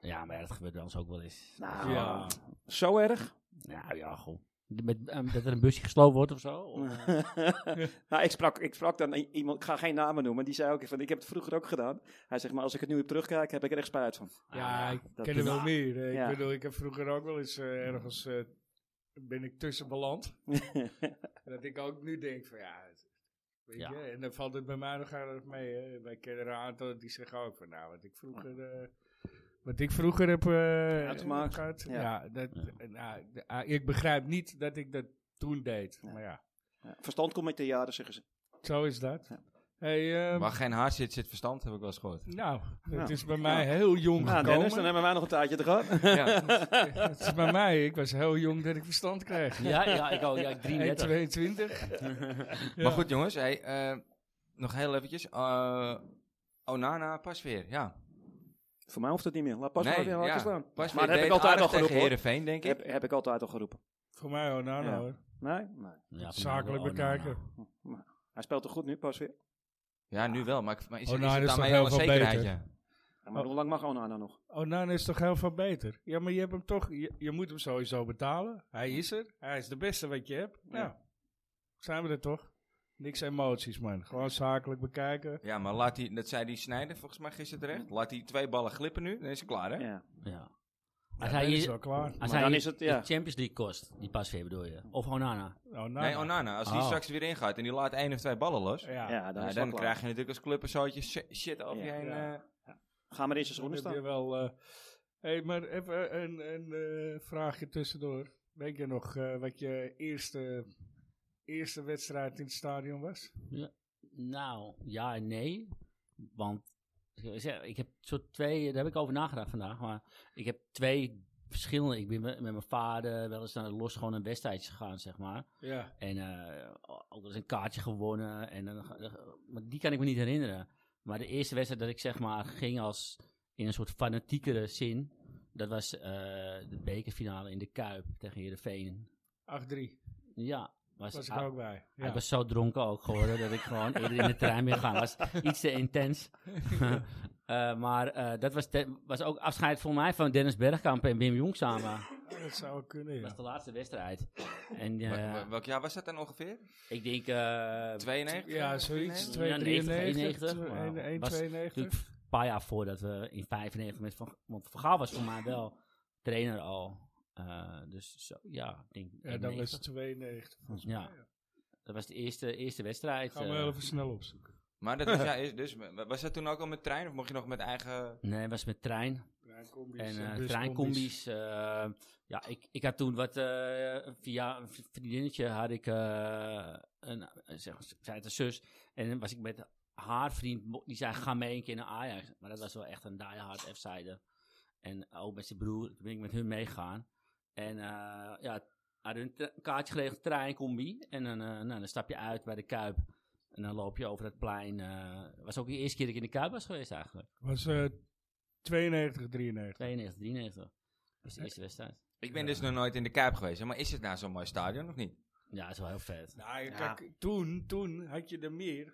S3: Ja, maar ja, dat gebeurt bij ons ook wel eens.
S4: Nou,
S2: ja.
S4: zo erg.
S3: Ja, ja, goh. De- Met, ehm, dat er een busje gesloopt wordt of zo? Of, eh,
S4: nou, ik sprak, ik sprak dan i- iemand, ik ga geen namen noemen, die zei ook van, ik heb het vroeger ook gedaan. Hij zegt, maar als ik het nu weer terugkijk, heb ik er echt spijt van.
S3: Ah,
S2: Ja, ik
S4: dat
S2: ken
S4: is-
S2: er wel meer. eh,
S4: Ja.
S2: Ik bedoel, ik heb vroeger ook wel eens eh, ergens... eh, ben ik tussen beland. dat ik ook nu denk van ja... het- Weet
S3: Ja.
S2: je, en dan valt het bij mij nog aardig mee. Hè. Wij kennen er een aantal die zeggen ook van nou, wat ik vroeger... eh, wat ik vroeger heb eh,
S4: Uitgemaakt,
S2: gehad,
S4: ja.
S2: Ja, dat, eh, nou, de- ah, ik begrijp niet dat ik dat toen deed. Maar ja,
S4: Ja, Verstand komt met de jaren, zeggen ze.
S2: zo is dat.
S4: Ja.
S2: Hey, ehm,
S1: Waar geen haar zit, zit verstand, heb ik wel eens gehoord.
S2: nou, het
S4: Ja.
S2: is bij mij heel jong
S4: Nou,
S2: gekomen.
S4: Dennis, eh, dan hebben wij nog een taartje te gaan.
S1: Ja.
S2: Het is bij mij, ik was heel jong dat ik verstand kreeg.
S3: ja, ja, ik ook. Ja,
S2: 1,
S3: ik 33.
S2: 22.
S1: Maar goed, jongens. Hey, eh, nog heel eventjes. Eh, Onana, pas weer. Ja.
S4: Voor mij hoeft het niet meer. Laat pas
S1: Nee,
S4: maar weer
S1: ja.
S4: laten staan.
S1: Pas weer
S4: Maar dat heb ik
S1: deed
S4: altijd
S1: aardig
S4: al geroepen,
S1: tegen
S4: hoor.
S1: Heerenveen, denk ik.
S4: Heb, heb ik altijd al geroepen.
S2: Voor mij Onana
S4: Ja.
S2: hoor.
S4: Nee? Nee.
S3: Ja, voor mij
S2: Zakelijk
S3: wel. Oh, nou,
S2: bekijken.
S4: Hij speelt er goed nu pas weer.
S1: Ja, nu wel. Maar, ik- maar is, is
S2: Onana
S1: het
S2: Oh, nou, is toch
S1: daarmee al een
S2: heel veel
S1: zekerheidje?
S2: beter.
S4: Ja,
S1: Oh.
S4: maar hoe lang mag Onana nog?
S2: Onana is toch heel veel beter. Ja, maar je hebt hem toch, je, je moet hem sowieso betalen. Hij is er. Hij is de beste wat je hebt. Nou, zijn we er toch? Niks emoties man. Gewoon zakelijk bekijken.
S1: Ja, maar laat die, dat zei die Snijder volgens mij gisteren terecht. Laat die twee ballen glippen nu, dan is het klaar, hè?
S4: Ja.
S3: nou. Ja.
S2: Ja,
S3: Als hij
S2: dan is
S3: je-
S2: wel klaar.
S3: als
S4: Maar
S3: hij
S4: dan is het,
S3: de
S4: ja.
S3: Champions League kost, die pas weer bedoel je. Of Onana.
S2: Onana.
S1: Nee, Onana. Als die
S3: Oh.
S1: straks weer ingaat en die laat één of twee ballen los.
S2: Ja.
S4: Ja, dan,
S1: nou,
S4: is
S1: dan
S4: het wel klaar.
S1: krijg je natuurlijk als club een zootje shi- shit over je
S4: Ja.
S1: heen.
S2: Ja.
S1: eh.
S4: Ga maar in zijn
S2: Dan
S4: schoenen
S2: heb je
S4: staan.
S2: wel... eh, hey, maar even een, een eh, vraagje tussendoor. Weet je nog eh, wat je eerste, eerste wedstrijd in het stadion was?
S3: Nou, ja en nee. Want ik zeg, ik heb soort twee, daar heb ik over nagedacht vandaag. Maar ik heb twee verschillende. Ik ben met met mijn vader wel eens naar de los gewoon een wedstrijdje gegaan, zeg maar.
S2: Ja.
S3: En eh, ook wel eens een kaartje gewonnen. En dan, maar die kan ik me niet herinneren. Maar de eerste wedstrijd dat ik zeg maar ging als in een soort fanatiekere zin. Dat was eh, de bekerfinale in de Kuip tegen Heerenveen.
S2: 8-3.
S3: Ja, was,
S2: Was ik
S3: ah,
S2: ook bij. Ja.
S3: ik was zo dronken ook geworden dat ik gewoon eerder in de trein ben gegaan. was iets te intens. Eh, maar eh, dat was, te- was ook afscheid voor mij van Dennis Bergkamp en Wim Jong samen.
S2: dat zou wel kunnen,
S3: Dat
S2: ja.
S3: was de laatste wedstrijd. En eh,
S1: Wa- wa- welk jaar was dat dan ongeveer?
S3: ik denk eh,
S1: 92?
S2: Ja, zoiets.
S1: 93?
S3: 92,
S2: 293.
S3: 91, was
S2: 192.
S3: natuurlijk een paar jaar voordat we in 95 met Van... Want Van Gaal was voor mij wel trainer al. Eh, dus zo, ja, ik denk...
S2: Ja, dan was
S3: 91.
S2: het 92. volgens mij.
S3: Ja. Dat was de eerste, eerste wedstrijd.
S2: Gaan we
S3: eh.
S2: heel even snel opzoeken.
S1: Maar dat was, ja, is- dus, wa- was dat toen ook al met trein of mocht je nog met eigen...
S3: Nee, het was met trein.
S2: Treincombis
S3: En eh,
S2: buscombis.
S3: treincombis. eh, ja, ik, ik had toen wat... eh, via een v- vriendinnetje had ik... eh, een, zeg, zij had een zus. En dan was ik met haar vriend... mo- Die zei, ga mee een keer naar Ajax. Maar dat was wel echt een diehard F-zijde. En ook met zijn broer. Toen ben ik met hun meegegaan. En eh, ja, hadden een tra- kaartje geregeld, treincombie. En dan, eh, nou, dan stap je uit bij de Kuip. En dan loop je over het plein. eh was ook de eerste keer dat ik in de Kuip was geweest eigenlijk.
S2: was eh 92, 93.
S3: 92, 93. Dat was de eerste wedstrijd.
S1: Ik ben dus nog nooit in de Kuip geweest. hè, Maar is het nou zo'n mooi stadion of niet?
S3: Ja, dat is wel heel vet.
S2: Nou, ja,
S4: Ja.
S2: kijk, toen, toen had je er meer.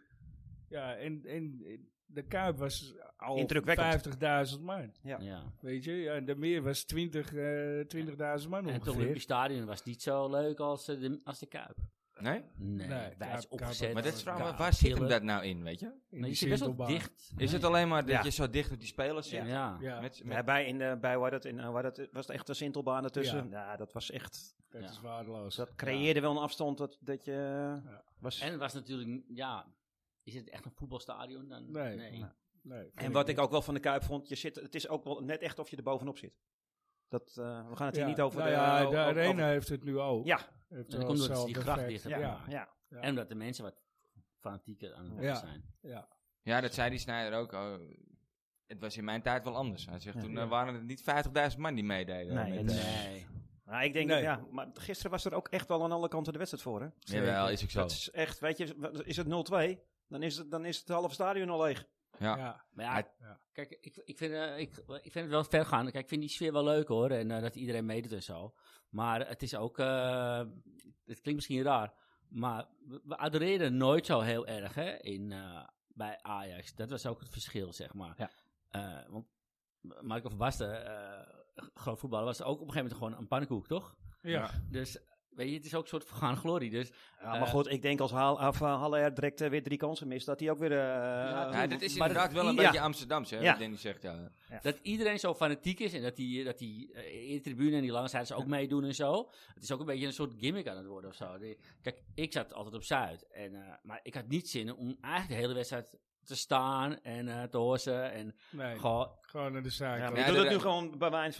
S2: Ja, en, en de Kuip was al
S4: Indrukwekkend.
S2: 50.000 man.
S4: Ja.
S3: ja.
S2: Weet je, ja, en de meer was 20, eh 20.000 man
S3: En het
S2: ongeveer.
S3: Olympisch Stadion was niet zo leuk als eh, de, als de Kuip.
S1: Nee?
S3: Nee,
S2: Nee,
S3: daar
S2: Kuip-
S3: is opgezet.
S2: Kuip-
S1: Maar dat is
S3: Kuip-
S1: waar, waar- waar zit hem
S3: Pillen.
S1: dat nou in, weet je?
S2: In
S3: Nee,
S2: die
S3: je zit best wel
S2: cirkelbaan.
S3: dicht.
S1: Is het alleen maar dat
S4: Ja.
S1: je zo dicht op die spelers zit?
S3: Ja.
S2: Ja,
S1: Met,
S4: Ja,
S1: met,
S4: bij, in, eh, bij waar dat in, eh, waar dat, was het echt de Sintelbaan ertussen. Ja. dat was echt.
S2: dat
S3: Ja.
S2: is waardeloos.
S4: Dat creëerde wel een afstand dat, dat je. eh, Was,
S3: En het was natuurlijk, ja, is het echt een voetbalstadion dan?
S2: Nee. Nee, vind
S4: En wat
S2: niet.
S4: ik ook wel van de Kuip vond, je zit, het is ook wel net echt of je er bovenop zit. Dat, eh, we gaan het hier
S2: Ja,
S4: niet over
S2: nou
S4: de...
S2: ja,
S4: o-
S2: de
S4: o-
S2: arena
S4: over-
S2: heeft het nu ook.
S4: ja,
S2: Heeft
S3: dan
S2: wel
S3: komt omdat ze die
S2: hetzelfde
S3: gracht
S2: effect.
S3: dicht
S4: ja,
S3: hebben
S2: Ja,
S3: gemaakt.
S4: ja.
S2: Ja.
S3: En omdat de mensen wat fanatieker aan het worden
S2: Ja.
S3: zijn.
S1: ja, dat zei die Snijder ook. oh, het was in mijn tijd wel anders. Hij zegt,
S4: Ja.
S1: toen eh, waren het niet 50.000 man die meededen.
S4: Nee,
S1: met,
S4: dat
S1: eh,
S4: is-
S3: Nee.
S4: Nou, ik denk,
S2: Nee.
S4: ja, maar gisteren was er ook echt wel aan alle kanten de wedstrijd voor, hè?
S1: Jawel, is ook zo.
S4: Dat is echt, weet je, w- is het 0-2, dan is het, dan is het halve stadion al leeg.
S1: Ja.
S2: Ja.
S3: Maar ja,
S1: Hij-
S2: Ja.
S3: kijk, ik, ik, vind, eh, ik, ik vind het wel ver gaan. Kijk, ik vind die sfeer wel leuk hoor. En eh, dat iedereen meedoet en zo. Maar het is ook, eh, het klinkt misschien raar. Maar we, we adoreren nooit zo heel erg hè, in, eh, bij Ajax. Dat was ook het verschil, zeg maar.
S4: Ja.
S3: Eh, want Marco van Basten, eh, groot voetballer, was ook op een gegeven moment gewoon een pannenkoek, toch?
S2: Ja.
S3: Dus, weet je, het is ook een soort vergaan glorie. Dus
S4: Ja, maar
S3: Eh.
S4: goed, ik denk als Haal, of, eh, Haller direct eh, weer drie kansen mist, dat hij ook weer... eh,
S3: Ja,
S1: Ja, dat is
S3: Maar
S1: inderdaad
S3: dat-
S1: wel een
S3: ja.
S1: beetje Amsterdamse, hè,
S4: Ja.
S1: wat Danny zegt. Ja.
S3: Dat iedereen zo fanatiek is en dat die, dat die eh, in de tribune en die lange zijdes ook meedoen en zo. Het is ook een beetje een soort gimmick aan het worden of zo. Die- Kijk, ik zat altijd op Zuid. En, eh, maar ik had niet zin om eigenlijk de hele wedstrijd te staan en eh, te horsen. En
S2: Nee,
S3: gewoon,
S2: gewoon naar de zaak.
S4: ja, maar
S1: Ja,
S4: doe dat
S1: dat-
S4: nu gewoon bij mij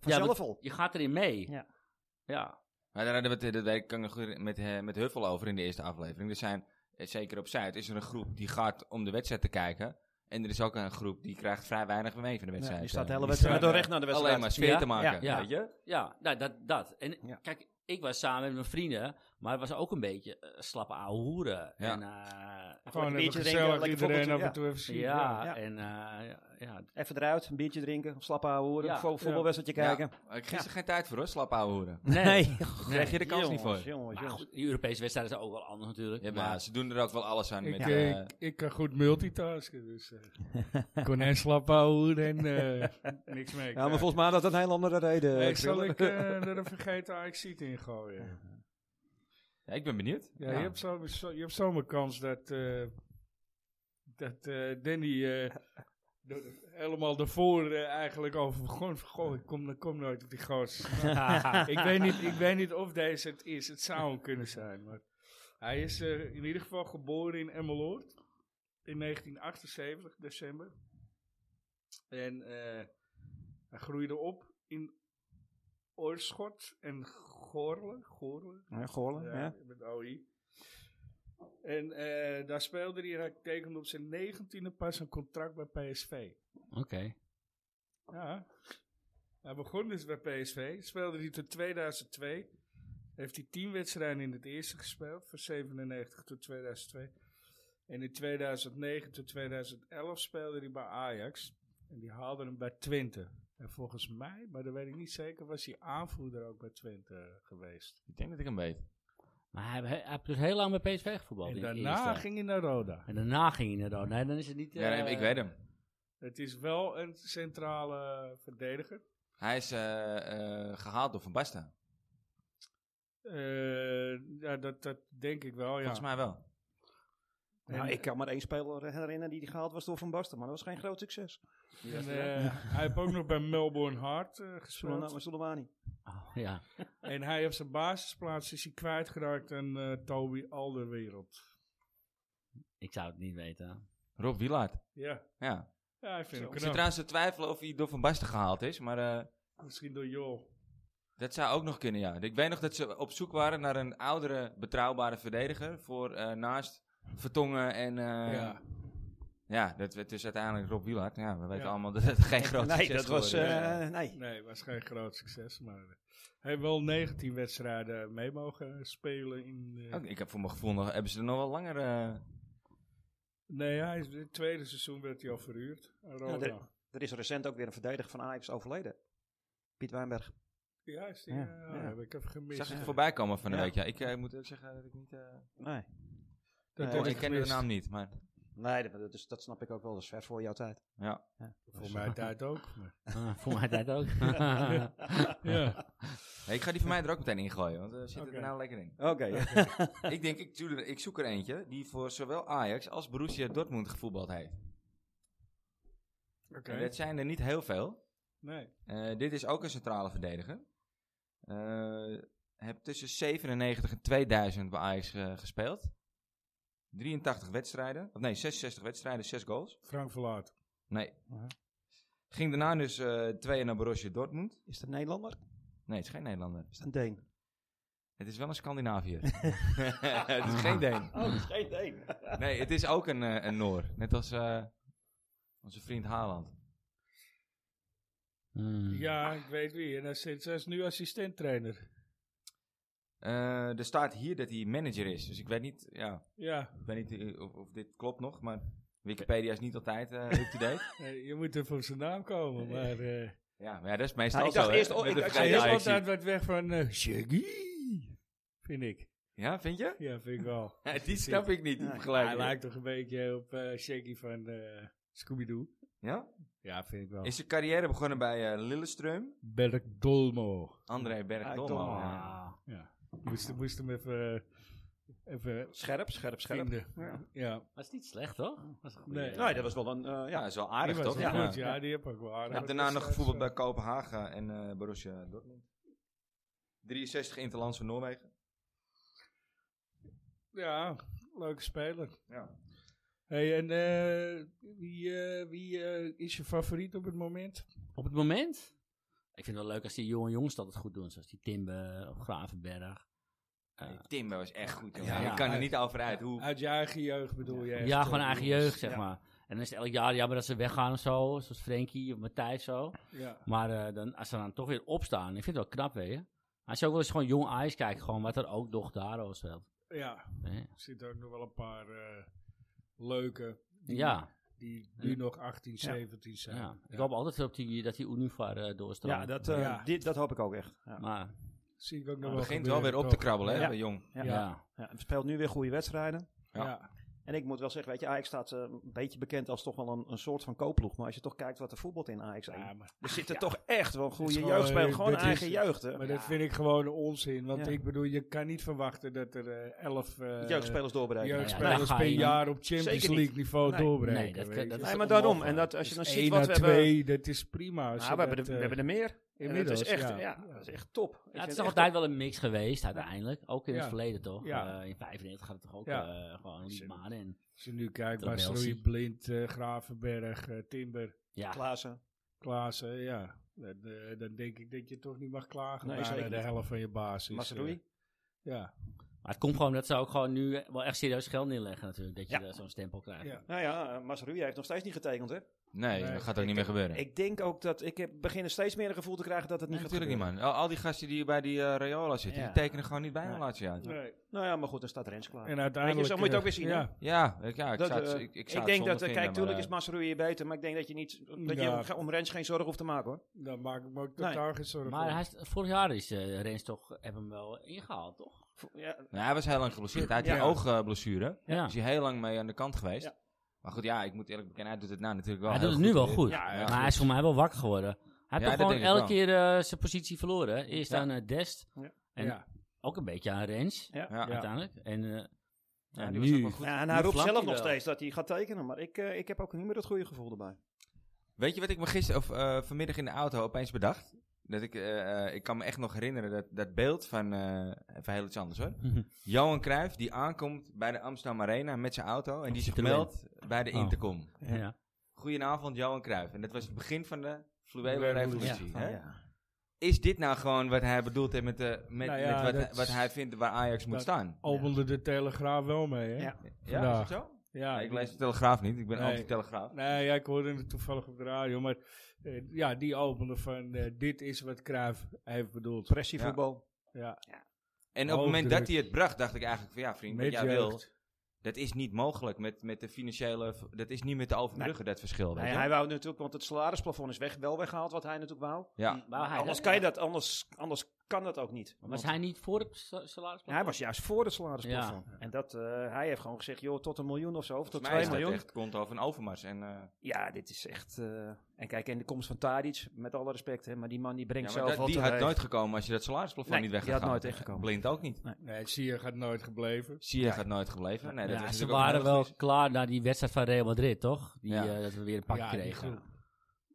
S4: vanzelf al.
S3: je gaat erin mee.
S4: Ja.
S3: Ja.
S1: Maar daar hadden we het, eh, dat weet ik, kan ik goed met, eh, met Huffel over in de eerste aflevering. Er zijn, eh, zeker op Zuid, is er een groep die gaat om de wedstrijd te kijken. En er is ook een groep die krijgt vrij weinig mee van de
S4: Ja,
S1: wedstrijd.
S4: die staat de
S1: eh.
S4: hele wedstrijd
S2: staan,
S4: door recht naar de wedstrijd.
S1: Alleen maar sfeer
S3: Ja,
S1: te maken,
S3: ja, ja.
S1: weet je?
S3: Ja, nou, dat, dat. En
S4: Ja.
S3: kijk, ik was samen met mijn vrienden, maar het was ook een beetje eh, slappe ouwe hoeren.
S1: Ja.
S3: En, eh,
S2: Gewoon
S4: Een
S2: even
S4: biertje
S2: gezellig
S4: drinken, lekker
S2: iedereen af
S4: voetbaltje,
S2: en toe even zien.
S3: ja,
S4: ja.
S3: en eh, ja,
S4: Even eruit, een biertje drinken, slap houden, horen,
S3: Ja.
S4: vo- voetbalwedstrijdje
S1: Ja.
S4: kijken.
S1: Ik kreeg er geen tijd voor hoor, slap ouwe hoeren.
S3: Nee.
S1: Krijg je de kans niet voor?
S4: Jongens, jongens,
S3: Maar
S4: jongens.
S3: goed, die Europese wedstrijden zijn ook wel anders natuurlijk.
S1: Ja, maar
S3: maar
S1: ze doen er ook wel alles aan.
S2: Ik,
S1: met,
S2: eh,
S1: eh,
S2: ik, ik kan goed multitasken, dus eh, ik kon en slap houden en eh, niks mee.
S4: Ja, maar volgens mij had dat een heel andere reden.
S2: mij...
S4: eh,
S2: zal
S4: Krullen.
S2: ik eh, er een vergeten Ajaxiet in gooien?
S1: ja, ik ben benieuwd.
S2: Ja, Je, hebt zo, zo- je hebt zomaar kans dat, eh, dat eh, Danny eh, door de- helemaal daarvoor eh, eigenlijk over begon. van, Goh, ik kom, ik kom nooit op die
S4: eh,
S2: gozer. Nou, ik, weet niet, ik weet niet of deze het is. Het zou hem kunnen zijn. Maar hij is eh, in ieder geval geboren in Emmeloord in 1978, december. En eh, hij groeide op in Oorschot en Goorle. Goorle?
S4: Ja, Goorlen, ja.
S2: Ja, met OI. En eh, daar speelde hij, en hij tekende op zijn negentiende pas een contract bij PSV.
S3: Oké.
S2: Ja. Hij begon dus bij PSV, speelde hij tot 2002. Heeft hij 10 wedstrijden in het eerste gespeeld, van 97 tot 2002. En in 2009 tot 2011 speelde hij bij Ajax. En die haalden hem bij Twente. En volgens mij, maar dat weet ik niet zeker, was hij aanvoerder ook bij Twente geweest.
S1: Ik denk dat ik hem weet.
S3: Maar hij, hij, hij heeft dus heel lang bij PSV gevoetbald.
S2: En
S3: in de
S2: daarna
S3: eerste.
S2: ging hij naar Roda.
S3: En daarna ging hij naar Roda. Nee, dan is het niet...
S1: Ja,
S3: eh,
S1: nee, ik weet hem.
S2: Het is wel een centrale verdediger.
S1: Hij is eh, eh, gehaald door Van Basten.
S2: Eh, ja, dat, dat denk ik wel, ja.
S1: Volgens mij wel.
S4: Nou,
S2: En-
S4: ik kan maar één speler herinneren die, die gehaald was door Van Basten, maar dat was geen groot succes.
S2: En, eh, Hij heeft ook nog bij Melbourne Heart eh, gespeeld.
S4: Soleimani.
S3: Oh, ja.
S2: En hij heeft zijn basisplaats is hij kwijtgeraakt aan eh Toby Alderwereld.
S3: Ik zou het niet weten.
S1: Rob Wielaert.
S2: Ja,
S1: Ja.
S2: ja ik vind
S1: Ik
S2: hem
S1: zit
S2: knap.
S1: trouwens te twijfelen of hij door Van Basten gehaald is, maar eh,
S2: Misschien door Joel.
S1: dat zou ook nog kunnen, ja. Ik weet nog dat ze op zoek waren naar een oudere, betrouwbare verdediger voor eh, naast Vertongen en... eh, ja.
S2: ja.
S1: dat werd dus uiteindelijk Rob Wielaert. Ja, we weten
S2: Ja.
S1: allemaal dat het geen groot
S4: Nee,
S1: succes
S4: dat was...
S1: geworden is.
S4: eh, nee.
S2: Nee, was geen groot succes, maar eh, hij heeft wel 19 wedstrijden mee mogen spelen in... eh,
S1: Oh. Ook, ik heb voor mijn gevoel nog, hebben ze er nog wel langer... eh,
S2: Nee, hij is, het tweede seizoen werd hij al verhuurd. aan Roma.
S4: de- Er is recent ook weer een verdediger van Ajax overleden. Piet Wijnberg.
S2: ja, is die,
S4: Ja,
S2: eh, oh,
S4: ja.
S2: heb ik even gemist.
S1: Zag ik
S2: Ja.
S1: voorbij komen van de
S4: Ja.
S1: week. Ja, ik eh, moet ook zeggen dat ik niet... eh,
S4: Nee.
S2: Dat
S4: Ja,
S2: heb
S1: oh, ik ken de
S2: gemist.
S1: naam niet, maar...
S4: Nee, dat, dat is, dat snap ik ook wel. Dat is ver voor jouw tijd. Dus,
S1: Ja.
S2: Voor mij tijd ook. maar-
S3: Ah, voor mij dat ook.
S2: ja.
S1: Nee, ik ga die van mij er ook meteen in gooien, want eh zit
S2: Oké.
S1: er nou lekker in.
S4: eh, Oké.
S1: ik denk, ik, doe er- ik zoek er eentje die voor zowel Ajax als Borussia Dortmund gevoetbald heeft.
S2: Oké.
S1: En dat zijn er niet heel veel.
S2: Nee.
S1: Eh, dit is ook een centrale verdediger. Eh heb tussen 97 en 2000 bij Ajax eh, gespeeld. 83 wedstrijden. Of nee, 66 wedstrijden, 6 goals.
S2: Frank Verlaat.
S1: Nee.
S4: Mhm.
S1: Ging daarna dus eh tweeën naar Borussia Dortmund.
S4: Is het een Nederlander?
S1: Nee, het is geen Nederlander.
S4: Is het een Deen?
S1: Het is wel een Scandinaviër. het is geen Deen.
S4: Oh, dat is geen Deen.
S1: Nee, het is ook een, eh, een Noor. Net als eh, onze vriend Haaland.
S3: Hmm.
S2: Ja, ik weet wie. En hij zit, hij is nu assistenttrainer.
S1: Eh, er staat hier dat hij manager is. Dus ik weet niet, ja,
S2: Ja,
S1: ik weet niet eh, of, of dit klopt nog, maar Wikipedia is niet altijd eh, up-to-date.
S2: eh, je moet even op zijn naam komen. Maar eh
S1: ja, maar ja, dat is meestal
S4: Nou, ik dacht
S1: zo, hè,
S4: eerst- oh,
S1: met
S4: ik
S1: de
S4: dacht
S2: hij
S1: vergeten
S2: is
S1: Ajaxie.
S2: altijd wat weg van eh Shaggy. Vind ik.
S1: Ja, vind je?
S2: Ja, vind ik wel.
S1: Die snap ik niet, die
S2: Hij
S1: vergelijking.
S2: lijkt toch een beetje op eh Shaggy van eh Scooby-Doo.
S1: Ja?
S2: Ja, vind ik wel.
S1: Is zijn carrière begonnen bij eh Lillestrøm.
S2: Bergdolmo.
S1: André Bergdommel.
S4: Bergdommel.
S1: ja.
S2: Moest, moest hem even, eh, even
S4: Scherp, scherp, scherp.
S2: vinden.
S4: Ja.
S2: Ja.
S3: Dat is niet slecht, toch? Dat is een goede-
S2: Nee. Nou,
S4: Nee, dat was wel een... eh,
S1: Ja,
S4: ja.
S1: dat is wel
S2: Die
S1: aardig,
S2: was
S1: toch?
S2: wel
S1: Ja.
S2: goed, ja, die heb ik wel aardig.
S1: Ik heb daarna nog gevoetbald bij Kopenhagen en eh, Borussia Dortmund. 63 Interlands van Noorwegen.
S2: Ja, leuke speler.
S1: Ja.
S2: Hey, en eh, wie, eh, wie eh, is je favoriet op het moment?
S3: Op het moment? Ik vind het wel leuk als die jonge jongens dat het goed doen. Zoals die Timber of Gravenberg. Eh,
S1: Nee, Timber was echt goed. jongen.
S3: Ja,
S1: ik
S3: ja.
S1: kan er niet over uit hoe...
S2: Uit je eigen jeugd bedoel je? echt,
S3: ja,
S2: eh,
S3: gewoon eigen
S2: jongens.
S3: jeugd, zeg maar. En dan is het elk jaar jammer dat ze weggaan of zo. Zoals Frenkie of Matthijs zo.
S2: Ja.
S3: Maar eh, dan, als ze dan toch weer opstaan. Ik vind het wel knap, weet je. Als je ook wel eens gewoon jong Ajax kijkt. Gewoon wat er ook nog daar al speelt.
S2: ja,
S3: Nee.
S2: er zitten ook nog wel een paar eh, leuke die,
S3: Ja,
S2: die nu
S3: Ja.
S2: nog 18, 17 zijn.
S3: ja. Ik hoop altijd op die, dat die Univar eh doorstroomt.
S4: Ja, dat, eh,
S2: Ja.
S4: Dit, dat hoop ik ook echt. Ja.
S3: Maar,
S2: Zie ik ook nog
S1: Het
S2: wel
S1: begint wel weer
S2: gebeuren,
S1: op te
S2: toch?
S1: krabbelen, hè,
S4: Ja.
S1: bij Jong.
S4: Ja.
S3: ja.
S4: Ja. hij speelt nu weer goede wedstrijden.
S1: Ja.
S2: ja.
S4: En ik moet wel zeggen, weet je, Ajax staat eh, een beetje bekend als toch wel een, een soort van koopploeg. Maar als je toch kijkt wat er voetbalt in Ajax
S2: Ja,
S4: aan.
S2: maar
S4: Er zitten toch echt wel goede
S2: Het is
S4: jeugd
S2: gewoon,
S4: spelen.
S2: eh,
S4: Gewoon
S2: dit is- eh,
S4: eigen jeugd, hè.
S2: Maar dat vind ik gewoon onzin. Want
S4: Ja.
S2: ik bedoel, je kan niet verwachten dat er eh, elf eh,
S4: Jeugdspelers doorbreken.
S3: Nee,
S2: jeugdspelers
S3: daar ga
S2: per
S3: je
S2: jaar op
S4: Zeker
S2: Champions
S4: niet.
S2: League niveau
S4: Nee.
S2: doorbreken.
S3: Nee, dat kan-
S2: weet
S3: dat
S2: je.
S3: is
S4: Nee,
S3: toch
S4: maar daarom.
S3: onmogelijk.
S4: En dat, als je dan
S2: Dus
S4: ziet
S2: één
S4: wat
S2: à
S4: we hebben...
S2: twee, dat is prima. als
S4: Nou,
S2: je
S4: we, hebben er,
S2: dat,
S4: we
S2: eh,
S4: hebben er meer. En dat
S2: inmiddels,
S4: is echt, ja.
S2: ja.
S4: dat is echt top. Ik
S3: Ja,
S4: vind
S3: het is
S4: echt
S3: toch altijd wel een mix geweest, uiteindelijk. Ook in
S2: Ja.
S3: het verleden, toch?
S2: Ja.
S3: Eh, in 95 gaat het toch ook
S2: Ja.
S3: eh, gewoon Liedman en...
S2: Als je nu kijkt,
S3: Dat
S2: waar
S3: Melsi.
S2: Snoei, Blind, eh, Gravenberg, eh, Timber,
S3: Ja,
S4: top. Klaassen.
S2: Klaassen, ja. Dan, eh, dan denk ik dat je toch niet mag klagen
S4: Nee,
S2: nee,
S4: zeker
S2: de
S4: niet. Nou,
S2: helft van je basis. eh,
S4: Masroei.
S2: ja.
S3: maar het komt gewoon dat ze ook gewoon nu eh, wel echt serieus geld neerleggen natuurlijk. Dat je
S4: Ja.
S3: daar zo'n stempel krijgt.
S2: Ja.
S4: Nou ja, eh, Masroei heeft nog steeds niet getekend, hè?
S1: Nee,
S2: Nee,
S1: dat gaat ook niet meer gebeuren.
S4: Ik denk ook dat ik heb, begin er steeds meer een gevoel te krijgen dat het niet
S1: Nee,
S4: gaat
S1: natuurlijk niet, man. Al, al die gasten die bij die eh Rayola zitten,
S4: Ja.
S1: die tekenen gewoon niet bij
S4: Nee.
S1: een laatje uit.
S4: Nou ja, maar goed, dan staat Rens klaar.
S2: En uiteindelijk...
S4: zo moet je het
S2: eh,
S4: ook weer zien, hè?
S2: Ja,
S1: Ja, ik, ja, ik
S4: Dat,
S1: zou het, ik,
S4: eh,
S1: ik
S4: Ik,
S1: zou het
S4: denk
S1: zonde
S4: dat, eh,
S1: vinden,
S4: kijk, tuurlijk
S1: maar,
S4: is Masroei hier beter, maar ik denk dat je, niet, dat
S2: Ja.
S4: je om- om Rens geen zorgen hoeft te maken, hoor.
S2: daar maak ik me ook
S4: Nee.
S2: totaal geen zorgen
S3: Maar
S2: om.
S3: hij is, vorig jaar is eh Rens toch, hebben hem wel ingehaald, toch?
S4: Vo- Ja,
S1: eh, nou, hij was heel lang geblesseerd. Hij had
S4: Ja.
S1: een oogblessure.
S3: Ja.
S1: Is Dus hij heel lang mee aan de kant geweest.
S4: Ja.
S1: Maar goed, ja, ik moet eerlijk bekennen, hij doet het nou natuurlijk wel
S3: hij
S1: heel
S3: doet het nu wel
S1: weer.
S3: goed,
S4: Ja, ja,
S3: maar
S1: goed.
S3: hij is voor mij wel wakker geworden. Hij
S1: Ja, dat
S3: heeft toch gewoon
S1: denk ik
S3: elke keer eh, zijn positie verloren. hè? Eerst
S1: Ja.
S3: aan eh, Dest,
S4: Ja.
S3: en
S2: Ja.
S3: ook een beetje aan Rens,
S1: Ja,
S2: Ja.
S3: uiteindelijk. En eh, ja,
S1: die was ook
S3: nu...
S1: wel goed.
S4: Ja, en
S3: nu
S4: hij roept
S3: vlamt
S4: zelf
S3: hij
S4: nog
S3: wel.
S4: steeds dat hij gaat tekenen, maar ik, eh, ik heb ook niet meer dat goede gevoel erbij.
S1: Weet je wat ik me gisteren of eh, vanmiddag in de auto opeens bedacht? Dat ik, eh, eh, ik kan me echt nog herinneren dat, dat beeld van, eh even heel iets anders hoor. Johan Cruijff die aankomt bij de Amsterdam Arena met zijn auto en die zich
S3: Citroën.
S1: meldt bij de
S3: Oh.
S1: intercom.
S3: ja.
S1: Goedenavond Johan Cruijff. En dat was het begin van de fluwele
S2: Revolutie.
S1: revolutie.
S4: Van,
S1: hè?
S4: ja.
S1: Is dit nou gewoon wat hij bedoeld heeft met, de, met,
S2: Nou
S1: met
S2: ja,
S1: wat,
S2: dat
S1: wat
S2: is-
S1: hij vindt waar Ajax moet
S2: dat-
S1: staan?
S2: Opende de Telegraaf wel mee, hè?
S4: Ja.
S1: Ja, is het
S2: vandaag.
S1: zo?
S2: Ja,
S1: Ja, ik lees de Telegraaf niet, ik ben
S2: Nee.
S1: anti-Telegraaf.
S2: Nee, ja, ik hoorde het toevallig op de radio, maar eh, ja, die opende van eh, dit is wat Cruijff heeft bedoeld.
S4: Pressievoetbal.
S2: Ja,
S1: En op het moment
S2: Hoofddruk.
S1: dat hij het bracht, dacht ik eigenlijk van ja vriend, wat
S2: met
S1: jij wil,
S2: jeugd.
S1: Dat is niet mogelijk met, met de financiële... Dat is niet met de overbruggen, dat verschil. weet
S4: Nee,
S1: je?
S4: hij wou natuurlijk, want het salarisplafond is weg, wel weggehaald wat hij natuurlijk wou.
S1: ja.
S3: Wou hij
S4: anders
S3: dat?
S4: kan je dat, anders, anders kan dat ook niet.
S3: Was
S4: Want
S3: hij niet voor het sa- salaris?
S4: hij was juist voor het salarisplafond. En dat, eh, hij heeft gewoon gezegd, joh, tot een miljoen of zo, of tot
S1: Volgens mij
S4: twee
S1: is dat
S4: miljoen.
S1: echt konto van Overmars. En, eh,
S4: Ja, dit is echt... eh, en kijk, en de komst van Tadic, met alle respect, hè, maar die man die
S1: ja,
S4: brengt
S1: maar
S4: zelf
S1: dat-
S4: al
S1: die had
S4: teweeg.
S1: nooit gekomen als je dat salarisplafond
S4: Nee,
S1: niet weg had
S4: die had
S1: gehaald.
S4: nooit echt gekomen.
S1: Blind ook niet.
S2: Nee, Sier gaat nooit gebleven.
S1: Sier gaat nooit gebleven. Nee, dat
S3: ja,
S1: was
S3: ze
S1: natuurlijk ook
S3: waren
S1: nodig
S3: wel
S1: geweest.
S3: klaar na die wedstrijd van Real Madrid, toch? Die,
S1: Ja.
S3: eh, dat we weer een pak
S2: Ja, die
S3: kregen.
S2: groep.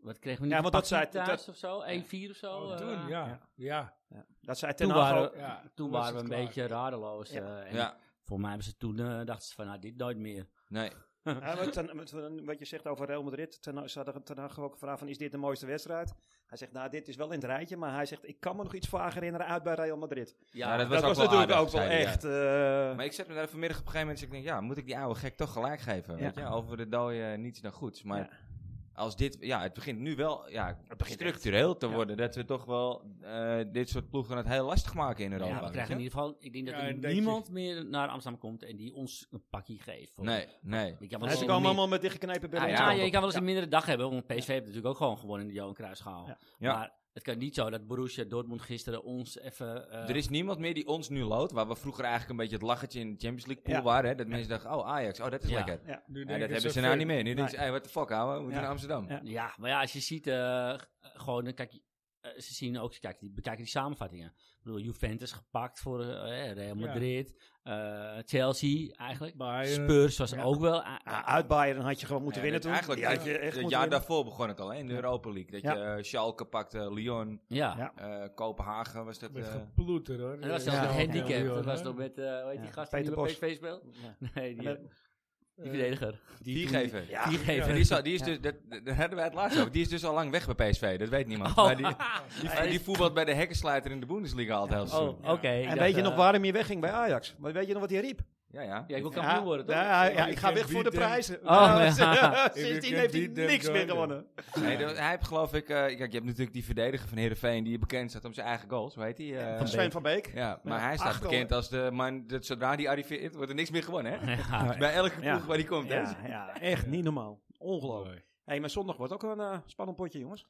S3: Wat kregen we niet?
S4: Ja, want dat
S3: Pakje
S4: zei-
S3: thuis
S4: dat-
S3: of zo? 1-4 of zo?
S2: Oh,
S3: eh,
S2: toen, ja. Ja.
S4: Dat zei Ten
S3: Toen
S4: Hag
S3: waren,
S4: ook.
S2: ja,
S3: toen
S2: toen was
S3: waren we een
S2: het klaar.
S3: beetje radeloos. eh en
S1: Ja,
S3: Voor mij hebben ze toen, eh, dachten ze van, nou, dit nooit meer.
S1: nee.
S4: Ja, maar ten- met- met- wat je zegt over Real Madrid, ten, ze hadden ten Hag ook gevraagd van, is dit de mooiste wedstrijd? Hij zegt, nou, dit is wel in het rijtje, maar hij zegt, ik kan me nog iets vaag herinneren uit bij Real Madrid.
S1: Ja, dat was
S4: dat
S1: ook
S4: was
S1: wel
S4: natuurlijk
S1: aardig,
S4: ook wel
S1: zei hij, ja.
S4: echt... eh,
S1: Maar ik zet me daar vanmiddag op een gegeven moment. Dus ik denk, ja, moet ik die oude gek toch gelijk geven?
S4: Ja.
S1: Weet je? Over de dode eh, niets dan goeds. Maar als dit, ja, het begint nu wel ja,
S4: begint
S1: structureel te
S4: Ja.
S1: worden. Dat we toch wel eh, dit soort ploegen het heel lastig maken in Europa.
S3: Ja, we
S1: weet
S3: krijgen in
S1: je?
S3: ieder geval, ik denk dat
S2: Ja,
S3: er
S2: en dat je-
S3: niemand meer naar Amsterdam komt en die ons een pakje geeft. Voor-
S1: Nee, nee.
S3: Weet je, want
S4: Maar ze
S3: het is
S4: komen
S3: meer-
S4: allemaal met dichtgeknepen
S3: Ah,
S4: billen.
S3: ja,
S4: Ja,
S3: je
S4: ja,
S3: kan wel eens een mindere dag hebben, want PSV heeft natuurlijk ook gewoon gewonnen in de Johan Cruijffschaal.
S4: Ja.
S1: Ja.
S3: Maar het kan niet zo dat Borussia Dortmund gisteren ons even... eh,
S1: Er is niemand meer die ons nu loodt. Waar we vroeger eigenlijk een beetje het lachertje in de Champions League pool
S4: Ja.
S1: waren. Hè? Dat mensen dachten, oh Ajax, oh dat is
S3: Ja.
S1: lekker.
S4: ja.
S2: Nu
S1: Ja,
S2: denken
S1: dat hebben ze
S2: fuck.
S1: nou niet meer. Nu denken ze, hey, what the fuck ouwe, we moeten
S4: Ja.
S1: naar Amsterdam.
S4: Ja.
S3: Ja, maar ja, als je ziet, eh, g- gewoon, dan kijk je, eh, ze zien ook, ze kijken, die, bekijken die samenvattingen. Ik bedoel, Juventus gepakt voor eh, eh, Real
S2: Ja.
S3: Madrid, eh, Chelsea eigenlijk.
S2: Bayern.
S3: Spurs was
S2: ja.
S3: ook wel. eh,
S4: Ja, uit Bayern had je gewoon moeten
S1: Ja,
S4: winnen
S1: dat
S4: toen.
S1: Eigenlijk,
S4: Die
S1: ja,
S4: had je echt
S1: het
S4: moeten
S1: jaar
S4: winnen.
S1: daarvoor begon het al hè, in de Europa League. Dat
S4: Ja.
S1: je eh, Schalke pakte, Lyon,
S3: ja.
S4: Ja.
S1: eh, Kopenhagen was dat.
S2: Met
S1: eh,
S2: geploeter hoor.
S3: En dat was
S4: Ja.
S3: zelfs een
S4: Ja.
S3: handicap.
S2: Ja.
S3: dat was toch met, eh hoe heet die
S4: Ja.
S3: gast
S4: Peter
S3: die bij
S4: Bos.
S3: PSV speelt?
S4: Ja.
S3: Nee, die,
S4: En
S3: die
S2: Eh,
S3: verdediger.
S1: Die geven.
S4: Ja.
S3: Die
S1: Ja,
S3: geven.
S1: die is al, die is dus, dat, dat- daar hadden wij het laatst over. Die is dus al lang weg bij PSV, dat weet niemand. Maar die, die,
S3: Oh. Hij is-
S1: die voetbalt bij de hekkensluiter in de Bundesliga altijd heel
S3: Oh,
S1: seizoen.
S3: oké. ik
S4: En
S3: dacht,
S4: weet je nog
S3: eh,
S4: waarom je wegging bij Ajax? Maar weet je nog wat hij riep?
S1: Ja, ja.
S3: Ja, ik wil kampioen worden, toch?
S4: Ja, nou ja, ja,
S2: Ja,
S4: ik
S2: ik
S4: ga
S2: ken
S4: weg voor de
S2: die damn-
S4: prijzen.
S3: Oh, ja.
S2: Ik
S4: Sindsdien
S2: ken
S4: heeft hij
S2: die damn
S4: niks meer
S2: Gordon.
S4: gewonnen.
S1: Nee, dat- hij heeft geloof ik... eh, kijk, je hebt natuurlijk die verdediger van Heerenveen die bekend staat om zijn eigen goals. Hoe heet die? eh,
S4: Van Sven van Beek.
S1: ja, maar hij staat
S4: Acht al-
S1: bekend als de man... Dat zodra die arriveert, wordt er niks meer gewonnen, hè?
S3: Ja.
S1: Bij elke ploeg
S4: Ja.
S1: waar die komt, hè?
S4: Ja, ja, echt niet normaal. Ongelooflijk.
S2: Mooi.
S4: Hé, maar zondag wordt ook een eh, spannend potje, jongens.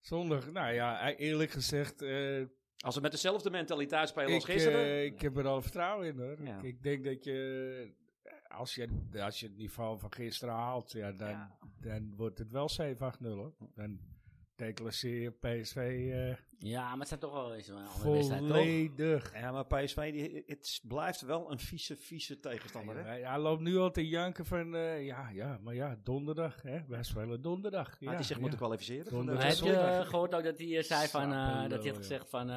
S2: Zondag, nou ja, eerlijk gezegd, eh,
S4: Als we met dezelfde mentaliteit spelen als
S2: ik,
S4: gisteren.
S2: eh, ik heb er al vertrouwen in hoor.
S4: Ja.
S2: Ik, ik denk dat je, eh, als je, als je het niveau van gisteren haalt, ja, dan,
S4: Ja.
S2: dan wordt het wel 7-8-0 hoor. Dan declasseer je PSV eh,
S3: ja, Nou, maar het staat toch wel eens een andere wedstrijd, toch?
S2: volledig.
S4: ja, maar PSV, die, het is- blijft wel een vieze, vieze tegenstander. Hè?
S2: Hij, hij loopt nu al te janken van, eh, ja, ja, maar ja, donderdag, hè, wij spelen
S1: Ah,
S2: donderdag. Ja,
S4: Had hij zich
S2: ja.
S4: moeten kwalificeren. voor de-
S2: Donderdag.
S3: Maar heb je
S2: zondag.
S3: eh, gehoord ook dat hij eh, zei van, eh,
S2: Sapelo,
S3: dat hij had
S2: ja.
S3: gezegd van, eh,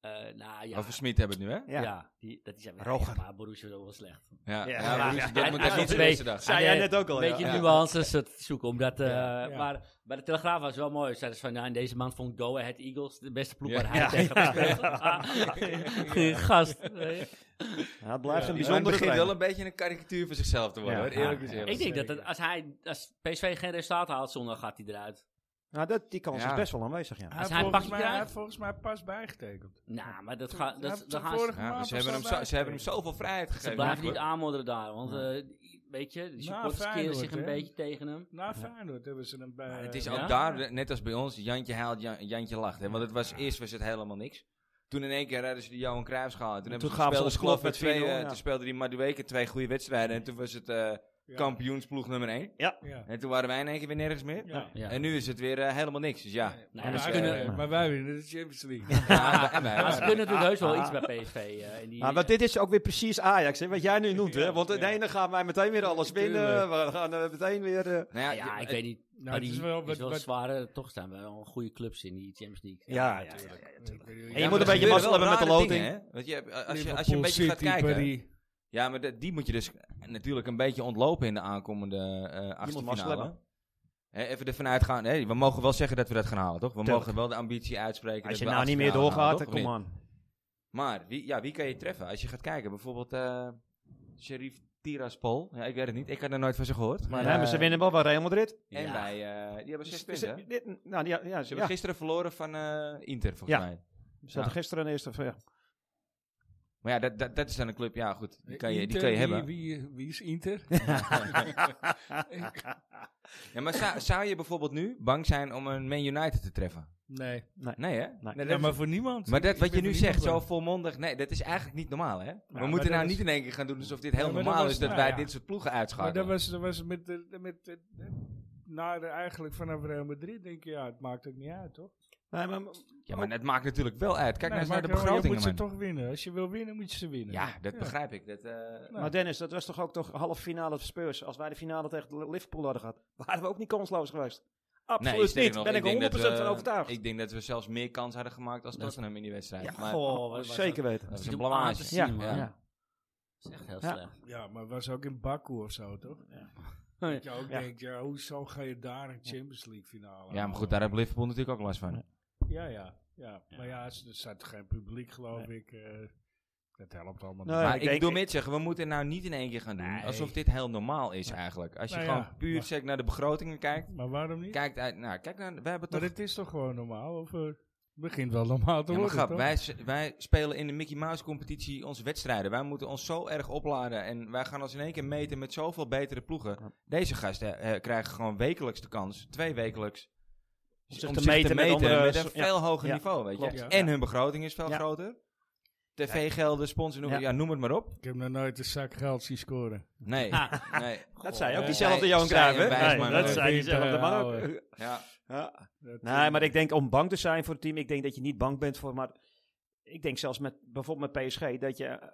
S3: eh, nou ja,
S1: Over Smit hebben we het nu, hè?
S4: Ja.
S3: ja. die, dat hij zei, van,
S4: Roger.
S3: ja, maar Borussia is ook wel slecht.
S1: Ja.
S4: Ja.
S1: Ja,
S4: Ja.
S1: Borussia Dortmund
S3: Ja.
S1: was niet de
S3: Ja.
S1: eerste dag.
S4: Zei
S3: Ja,
S4: jij
S3: de-
S4: net ook al,
S3: Een beetje
S4: Oh, ja.
S3: nuances te zoeken, omdat, eh,
S2: Ja, ja.
S3: maar bij de Telegraaf was het wel mooi. Zeiden ze van, nou, in deze maand vond Go Ahead Eagles de beste ploeg
S1: Ja.
S3: waar hij
S4: Ja.
S3: tegen
S4: Ja.
S3: gespeeld. Die Gast. weet je.
S4: Ja, het
S2: Ja.
S4: blijft een
S1: Maar het
S4: bijzondere
S1: begint
S4: trainer.
S1: wel een beetje een karikatuur van zichzelf te worden,
S4: Ja.
S1: hoor. Eerlijk
S3: Ja.
S1: gezegd.
S3: Ik denk dat het- als, hij, als PSV geen resultaat haalt zondag, gaat hij eruit.
S4: Nou, dat, die kans
S1: Ja.
S4: is best wel aanwezig, ja.
S2: Hij
S3: Als
S2: heeft
S3: hij een
S2: volgens
S3: pakje
S2: mij-
S3: krijgt-
S2: hij heeft volgens mij pas bijgetekend.
S3: Nou, maar dat gaat...
S2: Hij
S3: Dat,
S2: heeft
S3: dan
S2: zijn
S3: gaan ze,
S2: vorige
S1: Ja,
S2: maand
S1: ze, hebben
S2: pas
S1: hem zo- ze
S2: bijgetekend.
S1: hebben hem zoveel vrijheid
S3: ze
S1: gegeven.
S3: blijven
S1: hoor.
S3: niet aanmodderen daar, want eh, weet je,
S2: Nou,
S3: de supporters keren
S2: Feyenoord,
S3: zich een
S2: hè?
S3: beetje tegen hem.
S2: Na Feyenoord hebben ze hem bij... eh,
S1: Maar het is
S3: ja.
S1: ook daar, net als bij ons, Jantje huilt, Jan- Jantje lacht. Hè? Want het was, eerst was het helemaal niks. Toen in één keer hadden ze de Johan Cruijffschaal. en Toen, hebben
S4: toen
S1: ze
S4: gaven ze
S1: speelden
S4: ons
S1: ze
S4: klap
S1: geloof ik
S4: met
S1: twee,
S4: 4-0,
S1: eh,
S4: ja.
S1: Toen speelde die Madueke twee goede wedstrijden. En toen was het eh,
S2: Ja.
S1: kampioensploeg nummer één.
S2: Ja.
S1: En toen waren wij in één keer weer nergens meer.
S2: Ja.
S3: Ja.
S1: En nu is het weer eh, helemaal niks. Dus ja.
S3: Nee,
S2: maar,
S3: maar ze
S2: wij
S3: kunnen-
S2: winnen- maar wij winnen de Champions League.
S1: Ja, en wij-
S3: Maar ze kunnen natuurlijk heus wel
S4: ah,
S3: iets
S4: ah.
S3: bij PSV. eh, in die,
S4: Maar Nou, want dit is ook weer precies Ajax, hè, wat jij nu noemt. Hè? Want nee, dan gaan wij meteen weer alles winnen. We gaan eh, meteen weer... eh,
S1: Nou ja,
S3: ja, ja, ik
S1: het-
S3: weet niet.
S2: Nou,
S3: maar
S2: het
S3: die
S2: is
S3: is
S2: wel
S3: wel,
S2: wat- wat-
S3: zware, toch staan we wel goede clubs in die Champions League.
S4: ja, ja, ja,
S2: natuurlijk. En
S4: je moet
S1: maar
S4: een beetje
S1: er
S4: mazzel
S1: gebeuren
S4: hebben
S1: wel rare
S4: met de
S1: dingen, hè? Want je, hebt, eh, als, je, als je een
S2: Liverpool,
S1: beetje gaat
S2: City,
S1: kijken.
S2: Paris.
S1: Ja, maar dat- die moet je dus natuurlijk een beetje ontlopen in de aankomende eh achtste
S4: mazzel
S1: finale.
S4: hebben.
S1: Hè, even ervan uitgaan. hè, we mogen wel zeggen dat we dat gaan halen, toch? We
S4: Tuurlijk.
S1: mogen wel de ambitie uitspreken.
S4: Als
S1: dat
S4: je
S1: we
S4: nou niet meer
S1: achtste finale
S4: doorgaat,
S1: halen,
S4: dan
S1: toch? Of niet?
S4: kom aan.
S1: Maar wie, ja, wie kan je treffen? Als je gaat kijken, bijvoorbeeld eh Sheriff Tiraspol. Ja, ik weet het niet. Ik had er nooit van ze gehoord. Maar,
S4: Maar, nee, maar
S1: eh,
S4: ze winnen wel bij Real Madrid.
S1: En
S3: Ja.
S1: wij, eh, die hebben zes punten. hè?
S4: Ze- dit- Nou, ja, ja,
S1: Ze
S4: ze
S1: hebben
S4: ja,
S1: gisteren verloren van eh, Inter, volgens
S4: Ja.
S1: mij.
S4: ze hadden gisteren een eerste... Ja.
S1: Maar ja, dat, dat, dat is dan een club, ja goed, die kan je, die kan je
S2: Inter,
S1: hebben.
S2: Wie, wie, wie is Inter?
S1: Ja, maar zou, zou je bijvoorbeeld nu bang zijn om een Man United te treffen?
S2: nee.
S1: Nee hè?
S4: Nee.
S1: dat
S2: Ja,
S1: is-
S2: maar voor niemand.
S1: Maar dat
S2: Ik
S1: wat je
S2: ben
S1: nu
S2: voor
S1: zegt, zo
S2: niemand
S1: volmondig, nee, dat is eigenlijk niet normaal, hè? we
S2: maar
S1: moeten
S2: dat
S1: nou
S2: is-
S1: niet in één keer gaan doen alsof dit heel
S2: Ja, maar dat
S1: normaal
S2: was-
S1: is dat
S2: nou
S1: wij
S2: ja.
S1: dit soort ploegen
S2: bang. Maar dat
S1: uitschakelen.
S2: was, dat was met, de- met, de- na de- eigenlijk vanaf Real Madrid denk je, ja, het maakt ook niet uit, toch?
S4: Nee, maar,
S1: Ja, maar dat maakt natuurlijk wel uit. Kijk nou
S2: Nee,
S1: eens naar de
S2: maar gewoon,
S1: begrotingen,
S2: Je
S1: man.
S2: moet ze toch winnen. Als je wil winnen, moet je ze winnen.
S1: Ja, dat
S2: Ja.
S1: begrijp ik. Dat, eh,
S4: maar Dennis, dat was toch ook toch halve finale Spurs. Als wij de finale tegen Liverpool hadden gehad, waren we ook niet kansloos geweest.
S1: nee,
S4: Absoluut
S1: sterker
S4: niet.
S1: nog,
S4: ben ik,
S1: denk
S4: 100%
S1: dat we-
S4: van overtuigd.
S1: Ik denk dat we zelfs meer kans hadden gemaakt als Tottenham in die wedstrijd.
S4: ja,
S1: maar
S3: goh, wat was
S4: zeker weten.
S1: dat is een
S3: natuurlijk aan te
S1: blamage.
S3: zien,
S4: Ja,
S3: man.
S1: ja.
S3: Dat is echt heel
S4: Ja.
S3: slecht.
S2: Ja, maar was ook in Baku of zo, toch? Dat je ook
S4: Ja.
S2: denkt, ja, hoezo ga je daar een Champions League finale
S1: Ja, maar
S2: aan?
S1: goed, daar heeft Liverpool natuurlijk ook last van.
S2: Ja, ja, ja. Maar ja, ze- er zat geen publiek, geloof ik. eh, dat helpt allemaal
S4: Nee.
S2: niet.
S1: maar
S4: ik
S1: ik,
S4: denk-
S1: bedoel meer te zeggen, we moeten het nou niet in één keer gaan doen.
S2: Nee.
S1: Alsof dit heel normaal is eigenlijk. Als je
S2: Nou ja,
S1: gewoon puur
S2: maar-
S1: sec naar de begrotingen kijkt.
S2: Maar waarom niet?
S1: Kijkt uit, nou, kijk naar, we hebben
S2: maar
S1: toch...
S2: het is toch gewoon normaal? Of eh, het begint wel normaal te
S1: Ja, maar
S2: worden,
S1: grap,
S2: toch?
S1: wij, s- wij spelen in de Mickey Mouse competitie onze wedstrijden. Wij moeten ons zo erg opladen. En wij gaan ons in één keer meten met zoveel betere ploegen.
S4: Ja.
S1: Deze gasten eh, krijgen gewoon wekelijks de kans. Twee wekelijks.
S4: Om zich te meten met andere-
S1: met een
S4: ja,
S1: veel hoger
S4: ja,
S1: niveau. Weet je.
S4: klopt,
S2: ja.
S1: En hun begroting is veel
S4: Ja.
S1: groter. TV-gelden, sponsor, noem,
S4: Ja.
S1: ja, noem het maar op.
S2: Ik heb nog nooit een zak geld zien scoren.
S1: Nee,
S3: Ah.
S1: nee.
S4: Dat zei ook
S1: eh,
S4: diezelfde
S1: zij-
S4: Johan
S1: zij
S4: Cruijff,
S1: en
S4: hè?
S1: Wijsman
S4: Nee, dat
S1: ook.
S4: zei
S2: Vindt,
S4: diezelfde
S2: eh,
S4: man ook.
S2: ouwe.
S1: Ja.
S4: Ja.
S2: Dat,
S4: Nee,
S2: eh,
S4: maar ik denk om bang te zijn voor het team. Ik denk dat je niet bang bent voor. Maar ik denk zelfs met bijvoorbeeld met PSG dat je. eh,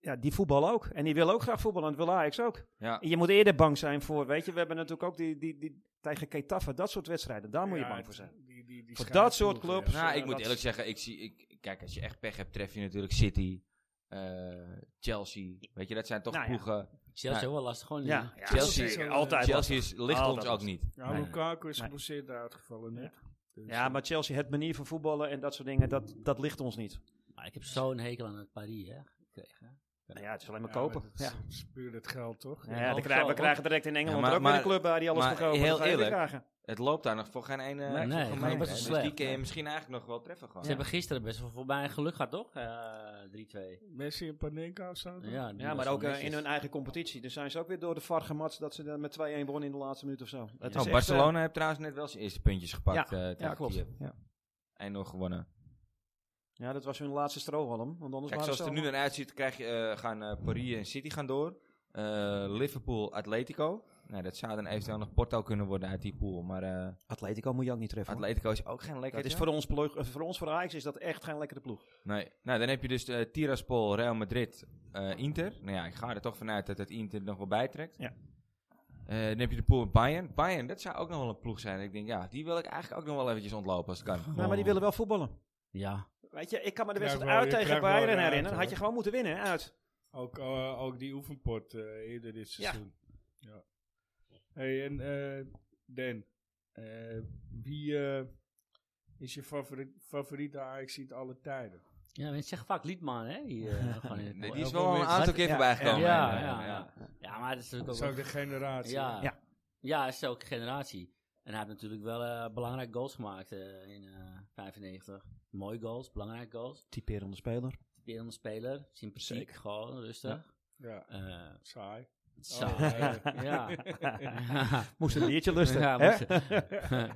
S4: Ja, die voetballen ook. En die wil ook graag voetballen. En dat wil Ajax ook.
S1: Ja.
S4: En je moet eerder bang zijn voor. Weet je, we hebben natuurlijk ook die, die, die tegen Ketafe. Dat soort wedstrijden. Daar moet je
S2: ja,
S4: bang
S2: het-
S4: voor zijn.
S2: die- die- die
S4: Voor
S2: schuine
S4: dat soort
S2: ploegen, ja.
S4: clubs.
S1: Nou,
S4: eh,
S1: ik moet
S4: dat-
S1: eerlijk zeggen, ik zie, ik, kijk, als je echt pech hebt, tref je natuurlijk City, eh, Chelsea. Weet je, dat zijn toch
S4: Nou ja.
S1: ploegen.
S3: Chelsea
S1: Ja.
S3: wel lastig gewoon.
S4: Ja,
S3: niet.
S4: ja,
S1: Chelsea,
S4: zeker.
S2: eh,
S4: altijd.
S1: Chelsea is, ligt
S4: Altijd
S1: ons ook
S4: lastig.
S1: niet.
S2: Ja,
S1: Nee.
S2: Lukaku is
S4: Nee.
S2: geblesseerd uitgevallen nu. Dus,
S4: Ja, maar Chelsea, het manier van voetballen en dat soort dingen, dat, dat ligt ons niet.
S3: Maar ik heb zo'n hekel aan het Paris, hè. gekregen.
S4: Nou ja, het is alleen
S2: eh, ja,
S4: maar kopen.
S2: maar dat
S4: Ja.
S2: is- dat is puur het geld, toch?
S4: Ja,
S3: Ja,
S4: dan
S3: ook
S4: krijgen,
S3: zo,
S4: we
S3: hoor.
S4: krijgen direct in Engeland
S1: Ja, maar-
S4: ook weer een
S1: maar-
S4: club waar die alles
S1: maar
S4: voor kopen.
S1: heel
S4: Dat ga je weer
S1: eerlijk.
S4: krijgen.
S1: Het loopt daar nog voor geen ene
S4: Nee,
S1: geen
S3: nee,
S1: gemeen.
S3: gewoon best wel
S1: Dus die
S3: slecht.
S1: kun je misschien eigenlijk nog wel treffen gewoon.
S3: Ze hebben gisteren best wel voorbij geluk gehad, toch? Eh, 3-2.
S2: Messi en Panenka of zo? toch?
S3: Ja, die
S4: Ja,
S3: was
S4: maar ook
S3: wel
S4: eh,
S3: netjes.
S4: in hun eigen competitie. Dus zijn ze ook weer door de VAR gematst dat ze dan met 2-1 wonnen in de laatste minuut of zo. Het
S1: Nou,
S4: echt,
S1: Barcelona heeft trouwens net wel zijn eerste puntjes gepakt. eh
S4: eh, ja,
S1: tegen
S4: klopt.
S1: Kiev.
S4: Ja.
S1: 1-0 gewonnen.
S4: ja, dat was hun laatste strohalm. Want anders
S1: Kijk,
S4: waren
S1: zoals
S4: ze
S1: het er nu naar uitziet, krijg je, eh, gaan eh, Paris en City gaan door. Eh, Liverpool, Atletico. Nou, dat zou dan eventueel nog Porto kunnen worden uit die pool. Maar eh,
S4: Atletico moet je ook niet treffen. hoor.
S1: Atletico is ook geen lekker.
S4: Dat is voor ons, ploeg- eh, voor ons, voor Ajax, is dat echt geen lekkere ploeg.
S1: Nee. Nou, dan heb je dus eh, Tiraspol, Real Madrid, eh, Inter. Nou ja, ik ga er toch vanuit dat het Inter nog wel bijtrekt.
S4: Ja.
S1: Eh, dan heb je de pool met Bayern. Bayern, dat zou ook nog wel een ploeg zijn. Ik denk, ja, die wil ik eigenlijk ook nog wel eventjes ontlopen als het kan.
S4: Ja, maar die willen wel voetballen.
S3: Ja.
S4: Weet je, ik kan me de
S2: Krijg
S4: wedstrijd
S2: wel-
S4: uit
S2: je
S4: tegen
S2: krijgt wel
S4: Bayern
S2: raad,
S4: herinneren. Had
S2: hoor.
S4: je gewoon moeten winnen, hè, uit.
S2: Ook, eh, ook die oefenpot eh, eerder dit
S4: Ja.
S2: seizoen. Ja. Hey, en eh Dan, eh, wie eh, is je favori- favoriete ajax alle tijden?
S3: Ja, mensen zeggen vaak Liedman, hè? Die, eh, gewoon in het-
S1: Nee, die is wel een aantal keer
S4: Ja,
S1: voorbij gekomen.
S3: ja,
S1: Nee, nee,
S3: ja,
S1: nee,
S3: ja. Ja, maar dat is
S2: Dat
S3: natuurlijk
S2: is
S3: ook...
S2: ook de generatie.
S3: Ja,
S4: Ja.
S3: ja. ja, dat is ook generatie. En hij heeft natuurlijk wel eh, belangrijke goals gemaakt eh, in eh 95. Mooie goals, belangrijke goals.
S4: Typerende speler.
S3: Weer een speler, sympathiek,
S4: Zeker.
S3: gewoon rustig.
S2: Ja,
S3: Eh,
S2: saai.
S3: zo.
S2: Oh, ja, ja.
S3: ja.
S4: Moest een biertje lusten.
S3: Ja,
S4: hè?
S3: maar ze-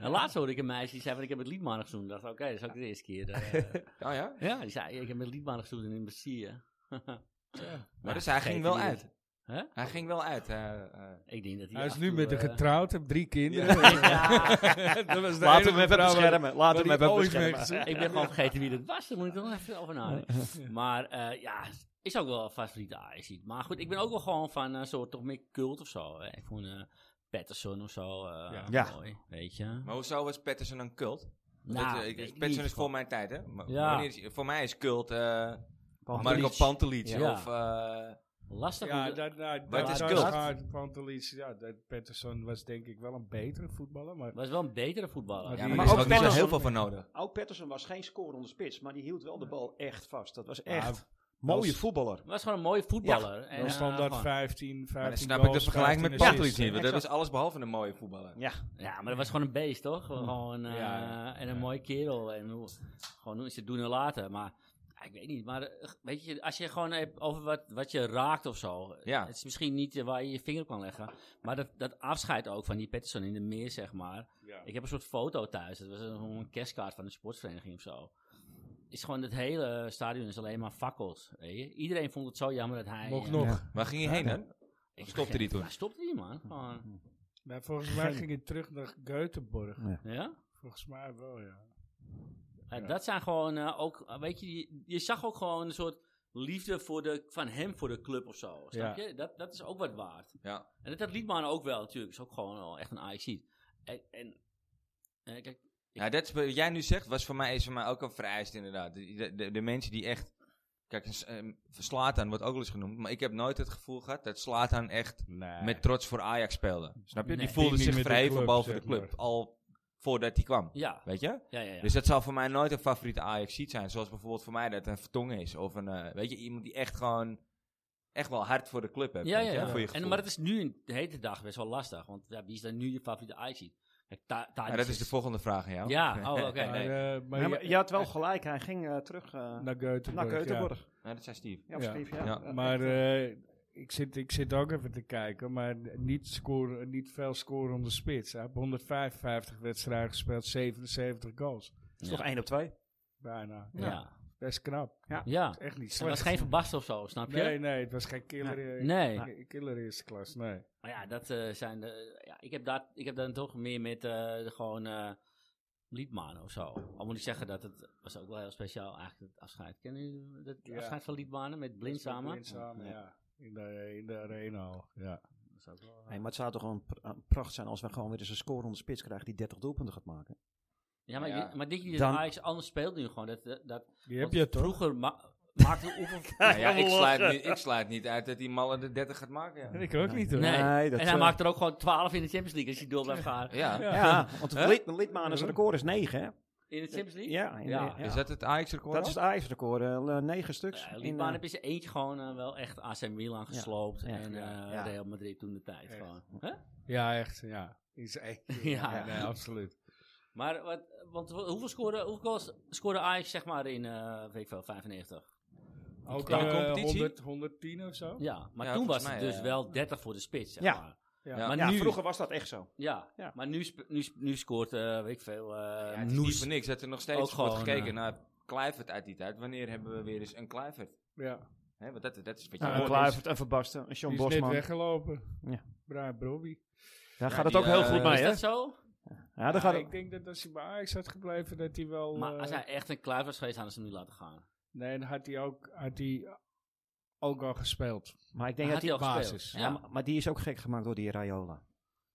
S3: En Laatst hoorde ik een meisje die zei van ik heb met Liedman gezoend. Ik dacht oké, dat is ook de eerste keer. eh,
S1: Oh ja?
S3: ja, die zei ik heb met Liedman gezoend in Brazilië.
S1: Maar dus hij ging wel uit.
S3: Hè?
S1: Hij ging wel uit. eh, eh.
S3: Ik denk dat hij
S2: Hij is
S3: af
S2: nu
S3: en
S2: met
S3: toe,
S2: de
S3: eh,
S2: getrouwd, heeft drie kinderen. dat was de
S4: Laten we
S2: enige
S4: hem
S2: vrouw
S4: even
S2: waar-
S4: beschermen. Laten we
S2: waar
S4: hem
S2: die
S4: even
S2: ooit mee
S4: beschermen.
S2: gezien-
S3: Ik ben gewoon vergeten wie dat was. Daar moet ik nog even over nadenken. Maar eh, ja, is ook wel een favoriete Ajax. Maar goed, ik ben ook wel gewoon van een soort toch meer cult of zo. hè. Ik vond eh Patterson of zo eh,
S2: Ja.
S4: Ja.
S3: mooi, weet je.
S1: Maar hoezo was Patterson een cult? Want
S3: Nou,
S1: dat, eh,
S3: weet ik
S1: Patterson
S3: niet.
S1: is voor mijn tijd, hè? Maar
S3: Ja.
S1: wanneer is- voor mij is cult eh Marco
S3: Pantelic.
S1: Pantelic.
S3: Ja.
S1: Of, eh,
S3: Lastig.
S2: Ja,
S3: om te-
S2: dat, nou, dat,
S1: Maar het
S2: dat
S1: is
S2: is
S1: cult.
S2: Pantelic, ja, dat Patterson was denk ik wel een betere voetballer, maar
S3: was wel een betere voetballer.
S2: Maar
S1: ja,
S2: die-
S1: maar,
S4: Maar
S1: er is
S4: ook
S1: ook niet zo heel
S4: Patterson-
S1: veel van nodig.
S4: Ook Patterson was geen scorer onder spits, maar die hield wel de bal echt vast. Dat was
S2: Ja,
S4: echt mooie
S2: als-
S4: voetballer.
S3: was gewoon een mooie voetballer. en,
S2: dan
S3: eh,
S2: standaard
S3: gewoon-
S2: 15, 15
S1: Maar dan snap ik
S2: goals,
S1: de vergelijking met
S2: 15
S1: Pantelic
S2: assists.
S1: niet. Want dat
S4: Exact.
S1: was alles behalve een mooie voetballer.
S4: Ja,
S3: Ja, maar dat was gewoon een beest, toch? Gewoon, eh,
S2: Ja, ja.
S3: En een mooie kerel. En hoe, gewoon hoe ze het doen en laten. Maar Ja, ik weet niet, maar eh, weet je, als je gewoon hebt over wat, wat je raakt of zo. eh,
S1: Ja.
S3: Het is misschien niet eh, waar je je vinger op kan leggen. Maar dat, dat afscheid ook van die Patterson in de meer, zeg maar.
S2: Ja.
S3: Ik heb een soort foto thuis. Dat was een, een kerstkaart van de sportvereniging of zo. Is gewoon het hele stadion is alleen maar fakkels. Weet je? Iedereen vond het zo jammer dat hij...
S2: Mocht
S3: eh,
S2: nog.
S1: Waar ging je heen dan?
S3: ik-
S1: Stopte die toen?
S3: Ja, stopte die man. Gewoon.
S2: Nou, volgens mij
S5: Geen-
S2: ging hij terug naar Göteborg.
S3: Ja?
S2: Volgens mij wel, ja.
S3: Ja, Dat zijn gewoon eh, ook, eh, weet je, je, je zag ook gewoon een soort liefde voor de, van hem voor de club of zo. Snap
S2: Ja.
S3: je? Dat, dat is ook wat waard.
S1: Ja.
S3: En dat, dat Liedman ook wel natuurlijk. Is ook gewoon al echt een IC. En, en eh, kijk,
S1: Ja, dat is wat jij nu zegt, was voor mij, is voor mij ook een vereist inderdaad. De, de, de- de mensen die echt... Kijk, s- ehm, Slatan wordt ook wel eens genoemd, maar ik heb nooit het gevoel gehad dat Slatan echt
S2: Nee.
S1: met trots voor Ajax speelde. Snap je?
S3: Nee.
S1: die voelde
S2: Niet
S1: zich
S2: met de
S1: vrij
S2: club,
S1: van boven de
S2: zeg
S1: club,
S2: maar.
S1: al voordat hij kwam.
S3: ja,
S1: Weet je?
S3: ja, ja. ja.
S1: Dus dat zal voor mij nooit een favoriete ajax zijn. Zoals bijvoorbeeld voor mij dat een Vertongen is. Of een, eh, weet je, iemand die echt gewoon, echt wel hard voor de club heeft.
S3: ja,
S1: weet
S3: ja,
S1: je,
S3: ja.
S1: eh, Voor je
S3: en,
S1: gevoel.
S3: maar dat is nu in de hele dag best wel lastig. Want ja, wie is dan nu je favoriete IC? Kijk, Ta- Tadic
S1: Maar dat is de volgende vraag aan jou.
S3: Ah, Ja, oh, oké.
S2: Maar, eh,
S3: nee.
S2: maar
S4: Ja,
S2: ja,
S4: maar je had wel gelijk, hij ging eh, terug eh,
S2: naar Göteborg.
S4: naar
S2: ja.
S4: Keutenborg.
S1: Nou, dat zei Steve.
S4: Ja,
S2: Ja.
S4: Steve, ja.
S1: Ja,
S4: Ja,
S2: Maar
S4: echt, eh,
S2: eh, ik, zit, ik zit ook even te kijken, maar niet, scoren, niet veel scoren onder spits. Hij heeft 155 wedstrijden gespeeld, 77 goals.
S4: is toch 1 op 2?
S2: Bijna.
S3: Ja.
S2: Ja.
S3: Ja.
S2: Best knap.
S3: ja.
S2: Echt niet
S3: Het was
S2: slecht.
S3: geen verbasten of zo, snap je?
S2: Nee, nee, het was geen killer, eh,
S3: Nee.
S2: ke- killer eerste klas, nee.
S3: Maar ja, dat eh, zijn de, ja, ik, heb daar, ik heb dan toch meer met eh, de gewoon eh Liedman of zo. Al moet ik zeggen dat het was ook wel heel speciaal eigenlijk het afscheid. Kennen jullie het
S2: Ja.
S3: afscheid van Liedmanen met Blind
S2: Blindzame,
S3: samen?
S4: Ja.
S2: ja. In de, in de arena al, ja.
S3: Dat is ook wel, eh,
S4: Nee, maar het zou toch gewoon pr- eh, pracht zijn als we gewoon weer eens een score onder de spits krijgen die 30 doelpunten gaat maken.
S3: Ja, maar,
S1: Ja.
S3: maar denk je dat
S4: Dan-
S3: Ajax anders speelt nu gewoon? Dat, eh, dat, dat-
S2: Die heb
S3: want
S2: je toch?
S3: Vroeger ma maakte Oever...
S1: Nou ja,
S4: Ja,
S1: ik, sluit
S4: lachen.
S1: niet, ik sluit niet uit dat die malle de 30 gaat maken. ja.
S2: Ik ook niet hoor.
S3: Nee.
S4: Nee, dat,
S3: en hij
S4: eh,
S3: maakt er ook gewoon 12 in de Champions League als hij door blijft gaan.
S1: Ja.
S2: Ja.
S4: Ja, want
S1: Huh?
S4: het lidmaan is record is 9, hè?
S3: In de Champions League?
S4: Ja, in de-
S3: Ja,
S4: ja.
S1: Is dat het Ajax-record?
S4: dat is het ijsrecord. eh 9 stuks.
S3: Ja,
S4: in,
S3: Liedman
S4: eh,
S3: heb je ze eentje gewoon eh, wel echt AC Milan gesloopt.
S4: Ja.
S3: En eh,
S4: Ja.
S3: Real Madrid toen de tijd
S2: Echt.
S3: gewoon. Huh?
S2: Ja, echt, ja. Is echt,
S3: Ja.
S2: ja. Nee, absoluut.
S3: Maar wat, want ho- hoeveel scoorde, hoeveel goals scoorde Ajax zeg maar in eh weet ik veel, 95?
S2: Ook
S1: Ja,
S2: eh,
S1: competitie?
S2: 100, 110 of zo?
S3: Ja, maar
S1: Ja,
S3: toen was
S1: volgens
S3: het
S1: mij, eh,
S3: dus
S1: ja.
S3: wel 30 voor de spits zeg
S4: Ja.
S3: maar.
S2: Ja.
S3: Maar
S4: ja,
S3: nu,
S4: vroeger was dat echt zo.
S3: ja,
S4: Ja.
S3: maar nu, sp- nu, sp- nu scoort eh weet ik veel eh
S1: Ja, het is niet
S3: Noes.
S1: voor niks dat er nog steeds
S3: Ook
S1: wordt
S3: gewoon,
S1: gekeken
S3: eh,
S1: naar Kluivert uit die tijd. Wanneer hebben we weer eens een Kluivert?
S2: Ja.
S1: Hè, want dat, dat is wat je
S4: Ja,
S1: hoort.
S4: Nou, een Kluivert, een Verbasten, een Sean
S2: Die is net
S4: Bosman.
S2: weggelopen.
S4: Ja.
S2: Brian Brobby.
S4: Daar
S1: Ja,
S4: gaat het
S1: die,
S4: ook heel
S1: eh,
S4: goed
S1: Maar
S3: is
S4: mee, hè?
S3: dat zo?
S4: Ja, daar
S2: Ja,
S4: gaat
S2: ik denk dat als hij bij Ajax had gebleven, dat hij wel...
S3: Maar
S2: eh,
S3: als hij echt een kluif was geweest, hadden ze hem niet laten gaan.
S2: Nee, dan had hij ook, had hij ook al gespeeld.
S4: Maar ik
S3: Dan
S4: denk dat
S3: had
S4: die...
S3: hij al
S2: basis.
S3: gespeeld.
S4: Ja,
S3: Ja,
S4: maar- maar die is ook gek gemaakt door die Raiola.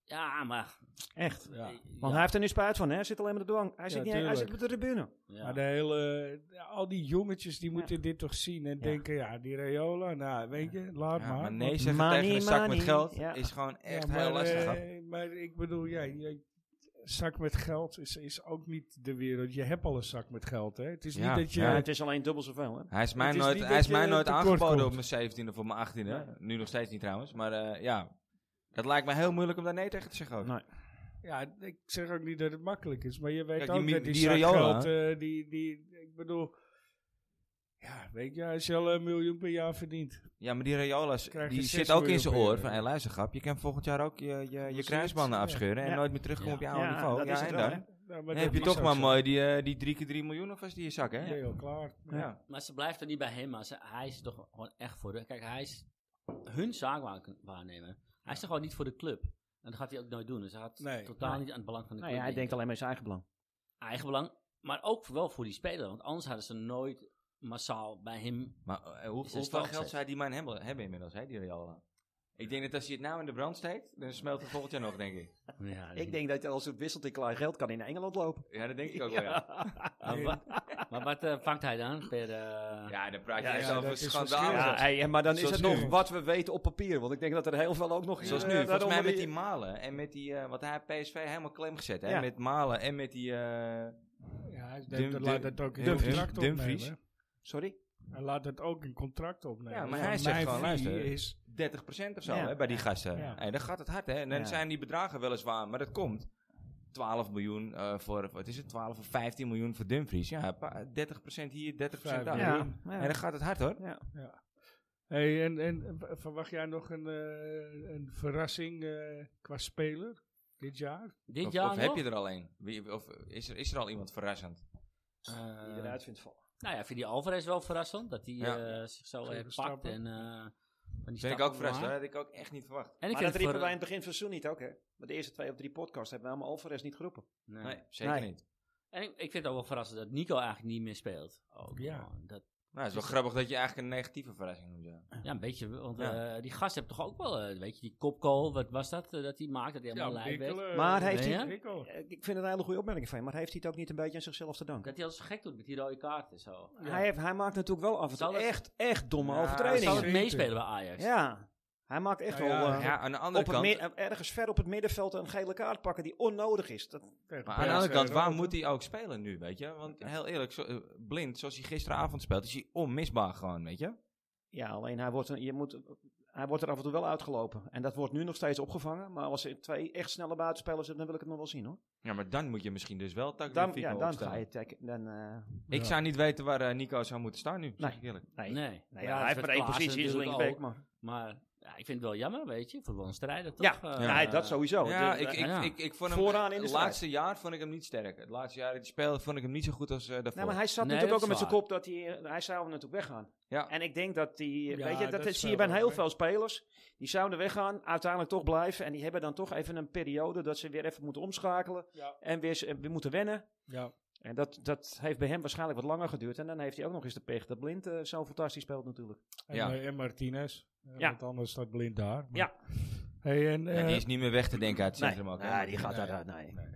S3: ja, maar...
S4: Echt.
S2: Ja.
S3: eh,
S4: Want hij
S3: ja,
S4: heeft er nu spijt van, hè? Hij zit alleen maar de dwang. Hij
S2: Ja,
S4: zit, niet, hij zit
S2: tuurlijk.
S4: op de tribune.
S3: ja.
S2: Maar de hele, al die jongetjes, die
S4: Ja.
S2: moeten dit toch zien en denken, ja, die Rayola, nou, weet je, laat
S1: Ja,
S2: maar.
S1: maar nee
S2: Want-
S1: zeggen
S4: Money,
S1: tegen een zak
S4: money.
S1: met geld
S4: Ja.
S1: is gewoon
S2: Ja,
S1: echt
S2: maar,
S1: heel lastig.
S2: eh,
S1: hoor.
S2: maar ik bedoel, ja, je- zak met geld is, is ook niet de wereld. Je hebt al een zak met geld, hè. Het is
S1: Ja,
S2: niet dat je...
S4: Ja,
S1: Ja.
S4: het is alleen dubbel zoveel, hè?
S1: Hij is mij
S2: Het is
S1: nooit,
S2: niet
S1: hij
S2: dat
S1: is
S2: je
S1: mij nooit
S2: tekort
S1: aangeboden
S2: komt.
S1: op mijn 17e of op mijn 18e. Nu nog steeds niet trouwens. Maar eh, ja, dat lijkt me heel moeilijk om daar nee tegen te zeggen ook.
S4: Nee.
S2: Ja, ik zeg ook niet dat het makkelijk is, maar je weet
S1: Kijk, die
S2: ook
S1: Mi-
S2: dat die,
S1: die
S2: zak
S1: Raiola,
S2: geld, eh, die, die, ik bedoel, ja, weet je, als je al een miljoen per jaar Nou, verdient.
S1: Ja, maar die Rayolas,
S2: Krijg je
S1: die
S2: zes
S1: zit ook in
S2: miljoen
S1: zijn
S2: per
S1: oor
S2: jaar.
S1: van, hé luister grap, je kan volgend jaar ook je, je, je
S2: Precies,
S1: kruisbanden
S2: ja.
S1: afscheuren en
S4: Ja.
S1: nooit meer terugkomen
S3: Ja.
S1: op je oude
S4: Ja,
S1: niveau.
S4: dat
S1: Ja,
S4: is het
S1: en
S4: wel,
S1: dan,
S4: hè?
S2: Nou, maar
S1: Dan
S2: dat
S1: heb je
S2: is
S1: toch
S2: ook
S1: maar
S2: zo.
S1: mooi die, eh, die 3 keer 3 miljoen of was die je zak, hè? Ja.
S2: Ja, joh, klaar.
S1: Ja.
S3: Maar ze blijft er niet bij hem, maar ze, hij is toch gewoon echt voor de... Kijk, hij is hun zaak waar- waarnemen. Hij is toch gewoon niet voor de club. En dat gaat hij ook nooit doen. Dus hij gaat
S2: Nee.
S3: totaal
S4: Nee.
S3: niet aan het belang van de
S4: Nee,
S3: club
S4: Nou hij denkt
S3: denken.
S4: alleen maar zijn eigen belang.
S3: Eigen belang, maar ook wel voor die speler. Want anders hadden ze nooit massaal bij hem...
S1: Maar eh, hoe,
S3: Is een
S1: hoeveel
S3: stapzet.
S1: geld zou die man hebben, hebben inmiddels, hè, die Rayola? Ik denk dat als je het nou in de brand steekt, dan smelt het volgend jaar nog, denk ik.
S3: Ja, dat-
S4: Ik denk dat als het wisselt in klaar geld kan in Engeland lopen.
S1: Ja, dat denk ik ook wel, ja.
S3: Maar, wa- maar wat eh, vangt hij dan? Per, eh,
S1: Ja, dan praat je
S4: Ja,
S1: echt
S2: ja, dat
S1: over
S2: is
S1: schandalen.
S2: verschil.
S4: Ja, hey, en maar dan is
S1: Zoals
S4: het
S1: nu.
S4: nog wat we weten op papier. Want ik denk dat er heel veel ook nog is.
S1: Zoals nu, volgens mij met die Malen en met die, eh wat hij heeft PSV helemaal klem gezet, hè?
S4: Ja.
S1: Met Malen en met die, eh
S2: Ja, hij
S1: Dum-
S2: neemt- hij laat
S1: Dum-
S2: het ook in
S1: Dumfries.
S2: contract
S1: Dumfries.
S2: opnemen.
S4: Sorry?
S2: Hij laat het ook in contract opnemen.
S1: Ja, maar
S2: Van
S1: hij zegt
S2: mijn
S1: gewoon,
S2: visie
S1: luister.
S2: is,
S1: 30% of zo
S4: Ja.
S1: hè, bij die gasten.
S2: Ja.
S1: Hey, dan gaat het hard, hè? En dan
S4: Ja.
S1: zijn die bedragen weliswaar, maar dat komt 12 miljoen eh, voor, wat is het, 12 of 15 miljoen voor Dumfries. Ja, pa- 30% hier, 30% daar.
S2: Ja.
S1: En dan gaat het hard hoor.
S2: Hey, en, en v- verwacht jij nog een, eh, een verrassing eh, qua speler dit jaar?
S3: Dit
S1: Of,
S3: jaar
S1: of
S3: nog?
S1: heb je er al een? Wie- Of is er, is er al iemand verrassend?
S3: Eh,
S4: Die eruit vindt vallen.
S3: nou ja, ik vind die Alvarez wel verrassend. Dat hij
S1: Ja.
S3: eh, zich zo
S2: Goede
S3: heeft pakt.
S2: stappen.
S3: En, eh, van die
S1: Ben ik
S3: stappen
S1: ook verrast hoor,
S3: maakt.
S1: had ik ook echt niet verwacht.
S3: En ik
S4: Maar
S3: vind
S4: dat riepen
S3: voor-
S4: wij in het begin van het seizoen niet ook, hè? Maar de eerste twee of drie podcasts hebben we allemaal Alvarez niet geroepen.
S3: Nee.
S1: Nee, zeker
S4: Nee.
S1: niet.
S3: En ik, ik vind het ook wel verrassend dat Nico eigenlijk niet meer speelt. Ook
S2: Ja.
S3: gewoon. Dat,
S1: Nou,
S3: Dus-
S1: het is wel grappig dat je eigenlijk een negatieve verrassing noemt. Ja.
S3: ja, een beetje. Want
S1: Ja.
S3: eh, die gast heeft toch ook wel, eh, weet je, die kopkool, wat was dat? eh, dat hij maakte, dat hij helemaal lijp werd.
S2: Mikkel, eh,
S4: Maar hij
S3: heeft die-
S2: Mikkel.
S4: Eh, Ik vind het een hele goede opmerking van je, maar heeft hij het ook niet een beetje aan zichzelf te danken?
S3: Dat hij al zo gek doet met die rode kaart en zo.
S4: Hij, heeft, hij maakt natuurlijk wel af en toe
S3: Zal het-
S4: echt, echt domme
S1: Ja,
S3: Hij zal
S4: overtredingen.
S3: het
S2: Zeker.
S3: meespelen bij Ajax.
S4: Ja, hij maakt echt
S2: Nou
S4: wel...
S2: ja,
S4: eh,
S1: Ja, aan de andere
S4: op het
S1: kant,
S4: mi- eh, ergens ver op het middenveld een gele kaart pakken die onnodig is. Dat,
S2: Tegen
S1: maar aan de andere
S2: PSV
S1: kant, waar
S2: rood.
S1: moet hij ook spelen nu, weet je? Want heel eerlijk, zo, eh, blind, zoals hij gisteravond speelt, is hij onmisbaar gewoon, weet je?
S4: ja, alleen hij wordt, een- je moet, hij wordt er af en toe wel uitgelopen. En dat wordt nu nog steeds opgevangen. Maar als er twee echt snelle buitenspelers zitten, dan wil ik het nog wel zien hoor.
S1: Ja, maar dan moet je misschien dus wel Tagliafico
S4: Dan, ja, dan
S1: opstellen.
S4: ga je tag- dan, eh,
S1: Ik
S2: Ja.
S1: zou niet weten waar eh, Nico zou moeten staan nu, zeg
S4: Nee.
S1: ik eerlijk.
S4: nee.
S3: Nee.
S4: Nou
S3: Maar
S4: ja, hij
S3: dat
S4: heeft
S3: is
S4: maar één
S3: met Klaassen
S4: positie is
S3: natuurlijk
S4: linksback.
S3: al.
S4: Maar.
S3: Maar ja, ik vind het wel jammer, weet je, voor wel een strijder toch?
S4: Ja,
S3: Eh,
S4: nee, dat sowieso.
S1: Ja,
S4: De-
S1: ik, ik,
S3: ja.
S1: Ik, ik vond hem,
S4: Oh, dus- Vooraan in de
S1: het
S4: strijd.
S1: laatste jaar vond ik hem niet sterk. Het laatste jaar dat hij speelde vond ik hem niet zo goed als eh, daarvoor.
S4: Nee, maar hij zat
S3: Nee,
S4: natuurlijk
S3: dat
S4: ook
S3: is
S4: met zijn
S3: waar.
S4: kop dat hij, eh, hij zou hem natuurlijk weggaan.
S1: Ja.
S4: En ik denk dat die,
S2: Ja,
S4: weet je,
S2: dat
S4: dat, dat zie je
S2: speelt
S4: bij
S2: ook
S4: heel
S2: mee.
S4: veel spelers. Die zouden weggaan, uiteindelijk toch blijven. En die hebben dan toch even een periode dat ze weer even moeten omschakelen.
S2: Ja.
S4: En weer, s- en weer moeten wennen.
S2: Ja.
S4: En dat, dat heeft bij hem waarschijnlijk wat langer geduurd. En dan heeft hij ook nog eens de pech dat Blind eh, zo fantastisch speelt natuurlijk.
S2: En,
S1: Ja.
S2: eh, en Martinez. Eh,
S4: Ja.
S2: Want anders staat blind daar. maar-
S4: Ja.
S2: Hey, en,
S1: Ja, die
S2: eh,
S1: is niet meer weg te denken uit het centrum ook. hè?
S4: nee, die gaat
S2: Nee.
S4: daaruit. Nee.
S2: eh,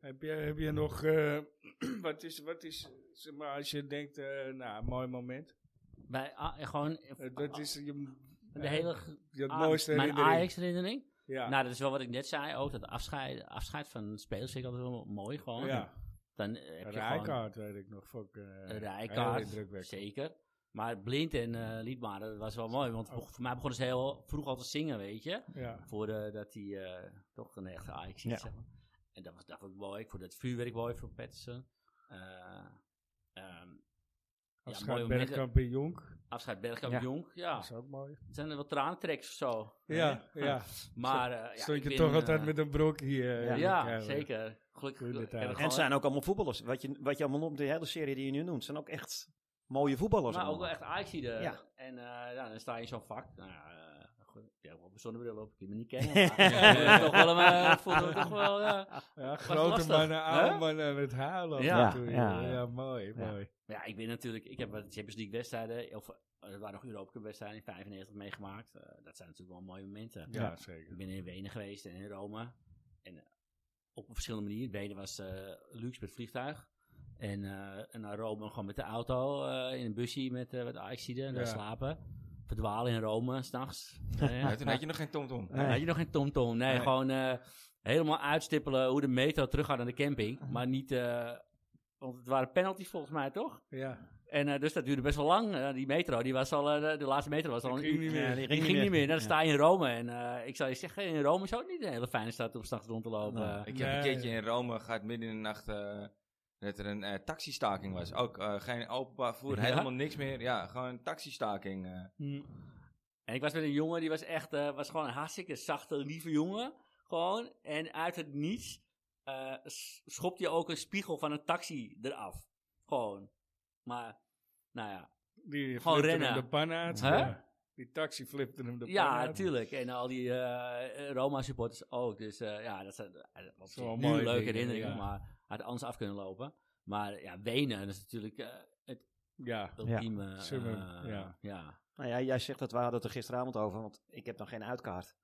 S2: Heb je, heb je nog, eh, wat is, wat is, zeg maar, als je denkt, eh, nou, mooi moment.
S3: Bij, A- ah, gewoon
S2: Eh, dat is je,
S3: de hele ge-
S2: je
S3: A-
S2: mooiste
S3: mijn
S2: herinnering.
S3: Ajax-herinnering.
S2: Ja.
S3: Nou, dat is wel wat ik net zei ook. Dat afscheid, afscheid van spelers vind ik altijd wel mooi gewoon.
S2: ja.
S3: Dan eh, heb je gewoon
S2: Rijkaard weet ik nog. Fuck, eh,
S3: een
S2: heel
S3: Rijkaard,
S2: indrukwekkend.
S3: zeker. Maar Blind en eh Liedmaar, dat was wel mooi. Want
S2: Ook.
S3: voor mij begonnen ze heel vroeg al te zingen, weet je.
S2: Ja.
S3: Voordat hij eh, toch een echte Ajax is.
S4: Ja.
S3: zeg maar. En dat was, dat was mooi. Ik vond het vuurwerk mooi voor Patterson. Eh ehm
S2: Afscheid
S3: mooie
S2: ja,
S3: momenten.
S2: Bergkamp en Jonk.
S3: afscheid Bergkamp
S4: Ja.
S3: Jong. Ja,
S2: Dat is ook mooi.
S3: zijn er wel traantreks of zo.
S2: Ja,
S3: Hè?
S2: ja.
S3: Maar, eh, ja,
S2: Stond
S3: ik
S2: je
S3: vind,
S2: toch altijd
S3: eh,
S2: met een brok hier. eh,
S3: Ja,
S2: eigenlijk.
S3: zeker. Gelukkig. eh,
S2: Goede
S3: hebben we
S2: tijd.
S4: En
S3: gewoon-
S4: het zijn ook allemaal voetballers. Wat je, wat je allemaal noemt, de hele serie die je nu noemt, zijn ook echt mooie voetballers.
S3: Maar ook
S4: allemaal.
S3: wel echt ajax
S4: Ja.
S3: En eh, ja, dan sta je in zo'n vak. Nou ja, eh, goed. Ik heb wel een zonnebril op, ik die me niet kennen. Maar eh, toch wel, eh, voelde me toch wel, ja.
S2: Ja, grote
S3: lastig,
S2: mannen, oude
S3: hè?
S2: mannen met halen.
S3: Ja,
S2: af en toe,
S4: ja,
S2: joh.
S4: ja.
S2: ja. mooi,
S4: Ja.
S2: mooi.
S3: Maar ja, ik ben natuurlijk, ik heb wat Champions League wedstrijden, of eh, er waren nog Europa Cup wedstrijden in 95 meegemaakt. Eh, dat zijn natuurlijk wel mooie momenten.
S2: Ja, zeker.
S3: Ik ben in Wenen geweest en in Rome. En eh, op een verschillende manieren. In Wenen was eh, luxe met vliegtuig. En, eh, en naar Rome gewoon met de auto, eh, in een busje met eh, wat Ajaxiden en daar
S2: Ja.
S3: slapen. Verdwalen in Rome, s'nachts.
S1: Ja, toen had je nog geen tomtom.
S4: Nee.
S3: Had je nog geen tomtom? Nee,
S1: Nee.
S3: gewoon eh, helemaal uitstippelen hoe de metro terug gaat naar de camping. Maar niet, eh, want het waren penalties volgens mij, toch?
S2: Ja,
S3: En eh, dus dat duurde best wel lang. eh, die metro, die was al, eh, de laatste metro was al
S2: dat
S3: een
S2: ging
S3: uur.
S2: niet
S4: Ja,
S2: meer.
S4: die
S3: Die
S4: ging
S3: ging niet meer. Dan
S4: Ja.
S3: sta je in Rome. En eh, ik zou je zeggen, in Rome is ook niet een hele fijne stad om s'nachts rond te lopen.
S4: Nee.
S3: Eh,
S1: Ik heb een
S2: Nee.
S1: keertje in Rome gehad midden in de nacht eh, dat er een eh, taxistaking was. Ook eh, geen openbaar voer,
S3: Ja?
S1: helemaal niks meer. Ja, gewoon een taxistaking. eh.
S3: En ik was met een jongen, die was echt, eh, was gewoon een hartstikke zachte, lieve jongen. Gewoon. En uit het niets eh, s- schopte je ook een spiegel van een taxi eraf. Gewoon. Maar, nou ja.
S2: Die
S3: Gewoon
S2: flipte hem
S3: rennen.
S2: de pan uit.
S3: Hè?
S2: ja. Die taxi flipte hem de pan
S3: Ja,
S2: uit.
S3: natuurlijk. En al die eh, Roma-supporters ook. Dus eh, ja, dat, zijn, eh, dat was
S2: Zo'n
S3: nu
S2: mooie
S3: een leuke
S2: dingen, ja.
S3: herinnering, maar had anders af kunnen lopen. Maar ja, Wenen dat is natuurlijk eh, het
S2: Ja,
S3: ultieme... eh,
S2: summum, ja.
S3: ja.
S4: Nou ja, jij zegt dat, we hadden het er gisteravond over, want ik heb dan geen uitkaart.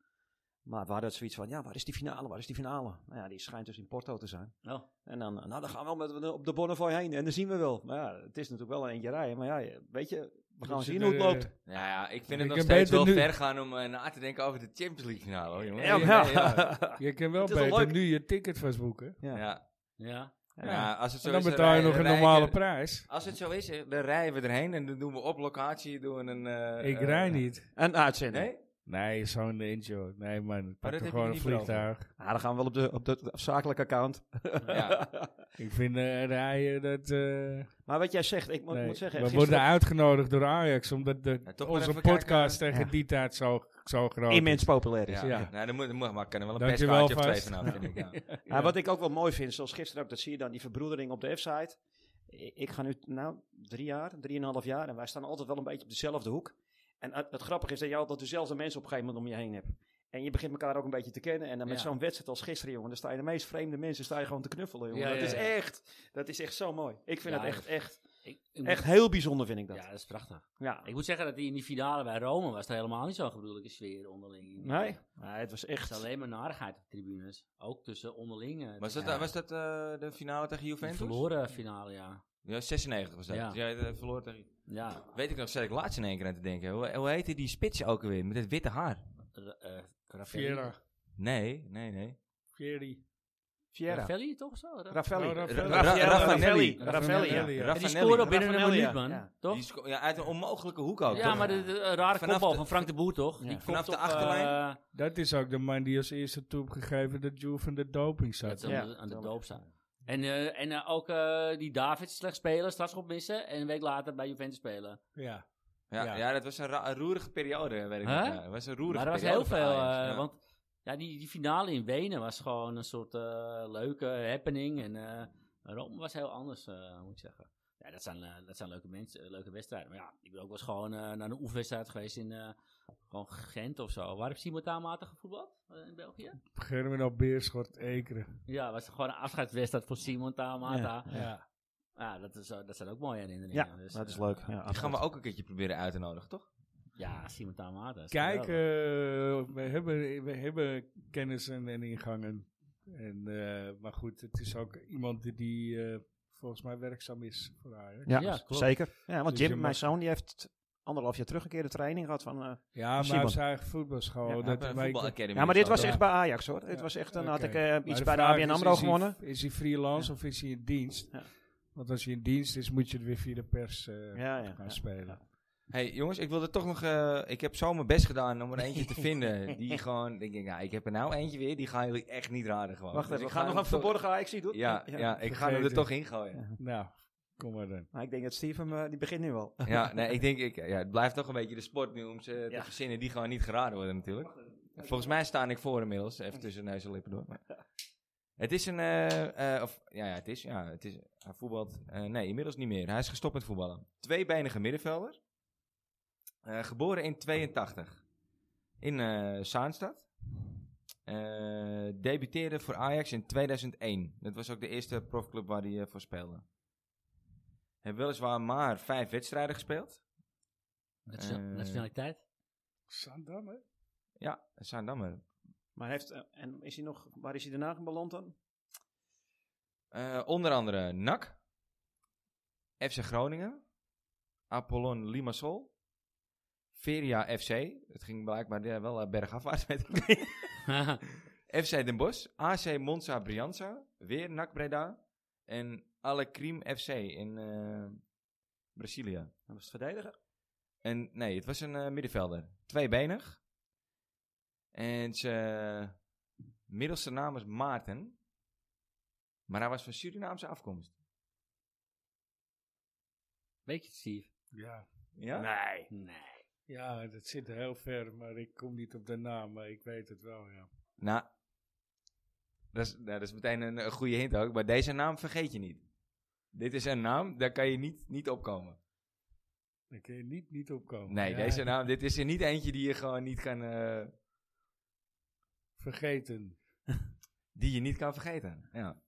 S4: Maar we hadden het zoiets van, ja, waar is die finale, waar is die finale? Nou ja, die schijnt dus in Porto te zijn.
S3: Oh,
S4: En dan, nou, dan gaan we wel met, met- op de Bonnefoy heen en dan zien we wel. Maar ja, het is natuurlijk wel een eentje rijden, maar ja, je- weet je, we gaan
S2: Dus
S4: zien
S2: je
S4: hoe het
S2: er,
S4: loopt.
S2: eh,
S1: Nou ja, ik
S2: Ik
S1: vind het nog
S2: heb
S1: steeds
S2: beter
S1: wel
S2: nu-
S1: ver gaan om eh, na te denken over de Champions League finale, hoor, jongen.
S4: Ja,
S1: Ja,
S4: ja.
S2: Je kan wel
S4: Het is wel
S2: beter
S4: leuk.
S2: nu je ticket vastboeken.
S4: Ja.
S1: Ja.
S3: ja.
S1: Ja, als het zo
S2: En dan
S1: is,
S2: betaal je
S1: rij-
S2: nog een
S1: rij ik
S2: normale
S1: er-
S2: prijs.
S1: Als het zo is, eh, dan rijden we erheen en dan doen we op locatie doen we een... eh,
S2: Ik
S1: eh,
S2: rij niet.
S4: En uitzending.
S1: Nee?
S2: Nee, zo'n eentje. hoor. Nee, man. Ik
S1: dat
S2: pak
S1: heb
S2: toch
S1: je
S2: gewoon een
S1: niet beloofd.
S2: vliegtuig.
S4: Ah, dan gaan we wel op de, op de zakelijke account.
S1: Ja.
S2: Ik vind eh, rijden dat... eh,
S4: Maar wat jij zegt, ik moet,
S2: nee.
S4: moet zeggen...
S2: we
S4: gisteren-
S2: worden uitgenodigd door Ajax, omdat de,
S1: Ja, toch maar
S2: onze
S1: even kijken,
S2: podcast
S1: eh,
S2: tegen die tijd zo, zo groot
S4: immens populair is.
S1: Ja,
S2: Dus Ja.
S1: Nou, dan moet, dan moet, maar ik kan er wel een
S2: Dankjewel
S1: perskaartje of twee
S2: vast.
S1: vanaf, vind ik. Ja.
S4: Ja, Nou, wat ik ook wel mooi vind, zoals gisteren ook, dat zie je dan, die verbroedering op de F-site. I- Ik ga nu, nou, drie jaar, drieënhalf jaar en wij staan altijd wel een beetje op dezelfde hoek. En eh, het, het grappige is dat je altijd dezelfde mensen op een gegeven moment om je heen hebt. En je begint elkaar ook een beetje te kennen. En dan met
S3: Ja.
S4: zo'n wedstrijd als gisteren, jongen, dan sta je de meest vreemde mensen sta je gewoon te knuffelen, jongen.
S3: Ja,
S4: dat
S3: ja,
S4: is
S3: ja.
S4: echt, dat is echt zo mooi. Ik vind
S3: Ja,
S4: het echt, echt,
S3: Ik, ik moet-
S4: echt heel bijzonder vind ik dat.
S3: Ja, dat is prachtig.
S4: Ja.
S3: Ik moet zeggen dat die in die finale bij Rome was er helemaal niet zo'n gruwelijke sfeer onderling.
S4: Nee? Nee, het was
S3: Het
S4: echt...
S3: is alleen maar narigheid op de tribunes. Ook tussen onderlingen.
S1: Was dat,
S3: Ja.
S1: was dat eh, de finale tegen
S3: Die
S1: Juventus?
S3: verloren finale, ja.
S1: Ja, 96 was dat.
S3: Ja.
S1: Ja. Jij eh, verloor tegen...
S3: Ja,
S1: Weet ik nog, zat ik laatst in één keer aan te denken. Hoe, hoe heette die spits ook alweer? Met het witte haar.
S3: R- eh, Raffelli.
S2: Viera.
S1: Nee, nee, nee.
S2: Vieri.
S4: Fiera.
S3: Raffelli toch zo? Ra-
S4: Raffelli.
S2: Oh, Raffelli.
S4: Ra-
S1: Ra-
S4: Raffelli.
S1: Raffanelli.
S4: Raffelli, ja.
S2: Raffanelli, ja.
S3: En die
S1: Raffanelli.
S3: scoorde binnen een
S4: Raffanelli,
S3: minuut,
S4: ja.
S3: man.
S4: Ja.
S3: Toch?
S1: Die sco- ja, uit een onmogelijke hoek ook,
S3: ja,
S1: toch?
S3: maar de, de rare
S1: Vanaf
S3: kopbal
S1: de-
S3: van Frank de Boer, toch?
S4: Ja.
S3: Die
S1: Vanaf
S3: kopt
S1: de
S3: op,
S1: achterlijn.
S3: eh,
S2: Dat is ook de man die als eerste toegegeven dat Juve in de doping zat.
S3: dat ze
S4: Ja.
S3: aan de- aan de
S4: Jammer.
S3: doop staan. En, eh, en eh, ook eh, die David slecht spelen, strafschop missen en een week later bij Juventus spelen.
S2: Ja.
S1: Ja,
S2: Ja.
S1: ja. dat was een, ra- een roerige periode, weet ik
S3: Huh?
S1: nog. Ja, het was een roerige
S3: maar er was
S1: periode
S3: heel
S1: voor
S3: veel,
S1: Ajax, Oh,
S3: eh,
S1: ja.
S3: want ja, die, die finale in Wenen was gewoon een soort eh, leuke happening. En eh, Rome was heel anders, eh, moet ik zeggen. Ja, dat zijn, eh, dat zijn leuke, mensen, eh, leuke wedstrijden. Maar ja, ik ben ook wel eens gewoon eh, naar een oefenwedstrijd geweest in eh, gewoon Gent of zo. Waar heb simultaanmatig gevoetbald eh, in België?
S2: Germinal Beerschot, Ekeren.
S3: Ja, was gewoon een afscheidswedstrijd voor Simon Tamata. Ja,
S2: Ja.
S3: dat, is, eh, dat zijn ook mooie herinneringen.
S4: Ja,
S3: dus,
S4: dat is
S3: eh,
S4: leuk. Ja,
S1: Die gaan we
S4: absoluut.
S1: ook een keertje proberen uit te nodigen, toch?
S3: Ja, Simon Tamata. is
S2: Kijk,
S3: geweldig.
S2: eh, we, hebben, we hebben kennissen en ingangen. En, eh, maar goed, het is ook iemand die, die eh, volgens mij werkzaam is voor Ajax.
S4: Ja,
S3: Ja, klopt.
S4: zeker. Ja, want
S2: Dus je
S4: Jim, mijn
S2: mag-
S4: zoon, die heeft anderhalf jaar terug een keer de training gehad van... eh,
S2: Ja, maar
S4: Simon.
S2: hij is eigen voetbalschool.
S4: Ja,
S2: dat
S1: Bij een
S2: wij-
S1: voetbalacademy
S4: ja, maar dit
S1: is dat,
S4: was
S1: ja.
S4: echt bij Ajax hoor. Dit
S2: Ja,
S4: was echt, dan
S2: oké.
S4: had ik eh,
S2: Maar
S4: iets
S2: de
S4: bij de
S2: vraag
S4: ABN
S2: is,
S4: AMRO
S2: is hij-
S4: gewonnen.
S2: Is hij freelance
S4: Ja.
S2: of is hij in dienst?
S4: Ja.
S2: Want als hij in dienst is, moet je het weer via de pers eh,
S4: Ja, ja,
S2: gaan
S4: ja.
S2: spelen.
S1: Hey jongens, ik wilde toch nog. eh, ik heb zo mijn best gedaan om er eentje te vinden. Die gewoon. Denk ik, nou, ik heb er nou eentje weer. Die gaan jullie echt niet raden gewoon.
S4: Wacht
S1: Dus
S4: even, we
S1: ik
S4: gaan nog
S1: hem
S4: een
S1: toch-
S4: verborgen Ajax zien doen.
S1: Ja, ja, ik ga hem er
S2: vergeten.
S1: toch in gooien.
S2: Nou, kom maar dan.
S4: Maar ik denk dat Steven, eh, die begint nu al.
S1: Ja, nee, ik denk. Ik, ja, het blijft toch een beetje de sport nu om ze
S4: Ja.
S1: te verzinnen die gewoon niet geraden worden natuurlijk. Volgens mij sta ik voor inmiddels. Even tussen neus en lippen door. maar- Het is een. eh, eh, of, ja, ja, het is. Ja, het is hij voetbalt. eh, nee, inmiddels niet meer. Hij is gestopt met voetballen. Tweebenige middenvelder. Eh, geboren in 82. In eh, Zaanstad. Eh, debuteerde voor Ajax in 2001. Dat was ook de eerste profclub waar hij eh, voor speelde. Heeft weliswaar maar vijf wedstrijden gespeeld.
S3: Natio-
S1: eh,
S3: Nationaliteit?
S2: Zandam, hè?
S1: Ja, Zaandammer.
S4: Maar heeft, eh, en is hij nog, waar is hij daarna beland dan?
S1: Eh, onder andere NAC, FC Groningen, Apollon Limassol, Feria FC, het ging blijkbaar eh, wel eh, bergafwaarts met FC Den Bosch, AC Monza Brianza, weer NAC Breda en Alecrim FC in eh, Brazilië.
S4: Dat was het verdediger.
S1: En nee, het was een eh, middenvelder. Tweebenig. En zijn middelste naam is Maarten. Maar hij was van Surinaamse afkomst.
S3: Weet je het, Steve?
S2: Ja.
S1: Ja?
S4: Nee.
S3: Nee.
S2: ja, dat zit heel ver, maar ik kom niet op de naam, maar ik weet het wel, ja.
S1: Nou, dat is, nou, dat is meteen een, een goede hint ook. Maar deze naam vergeet je niet. Dit is een naam, daar kan je niet, niet opkomen.
S2: Daar kun je niet, niet opkomen.
S1: Nee,
S2: Ja,
S1: deze naam, dit is er niet eentje die je gewoon niet kan, eh,
S2: Vergeten.
S1: die je niet kan vergeten. Ja.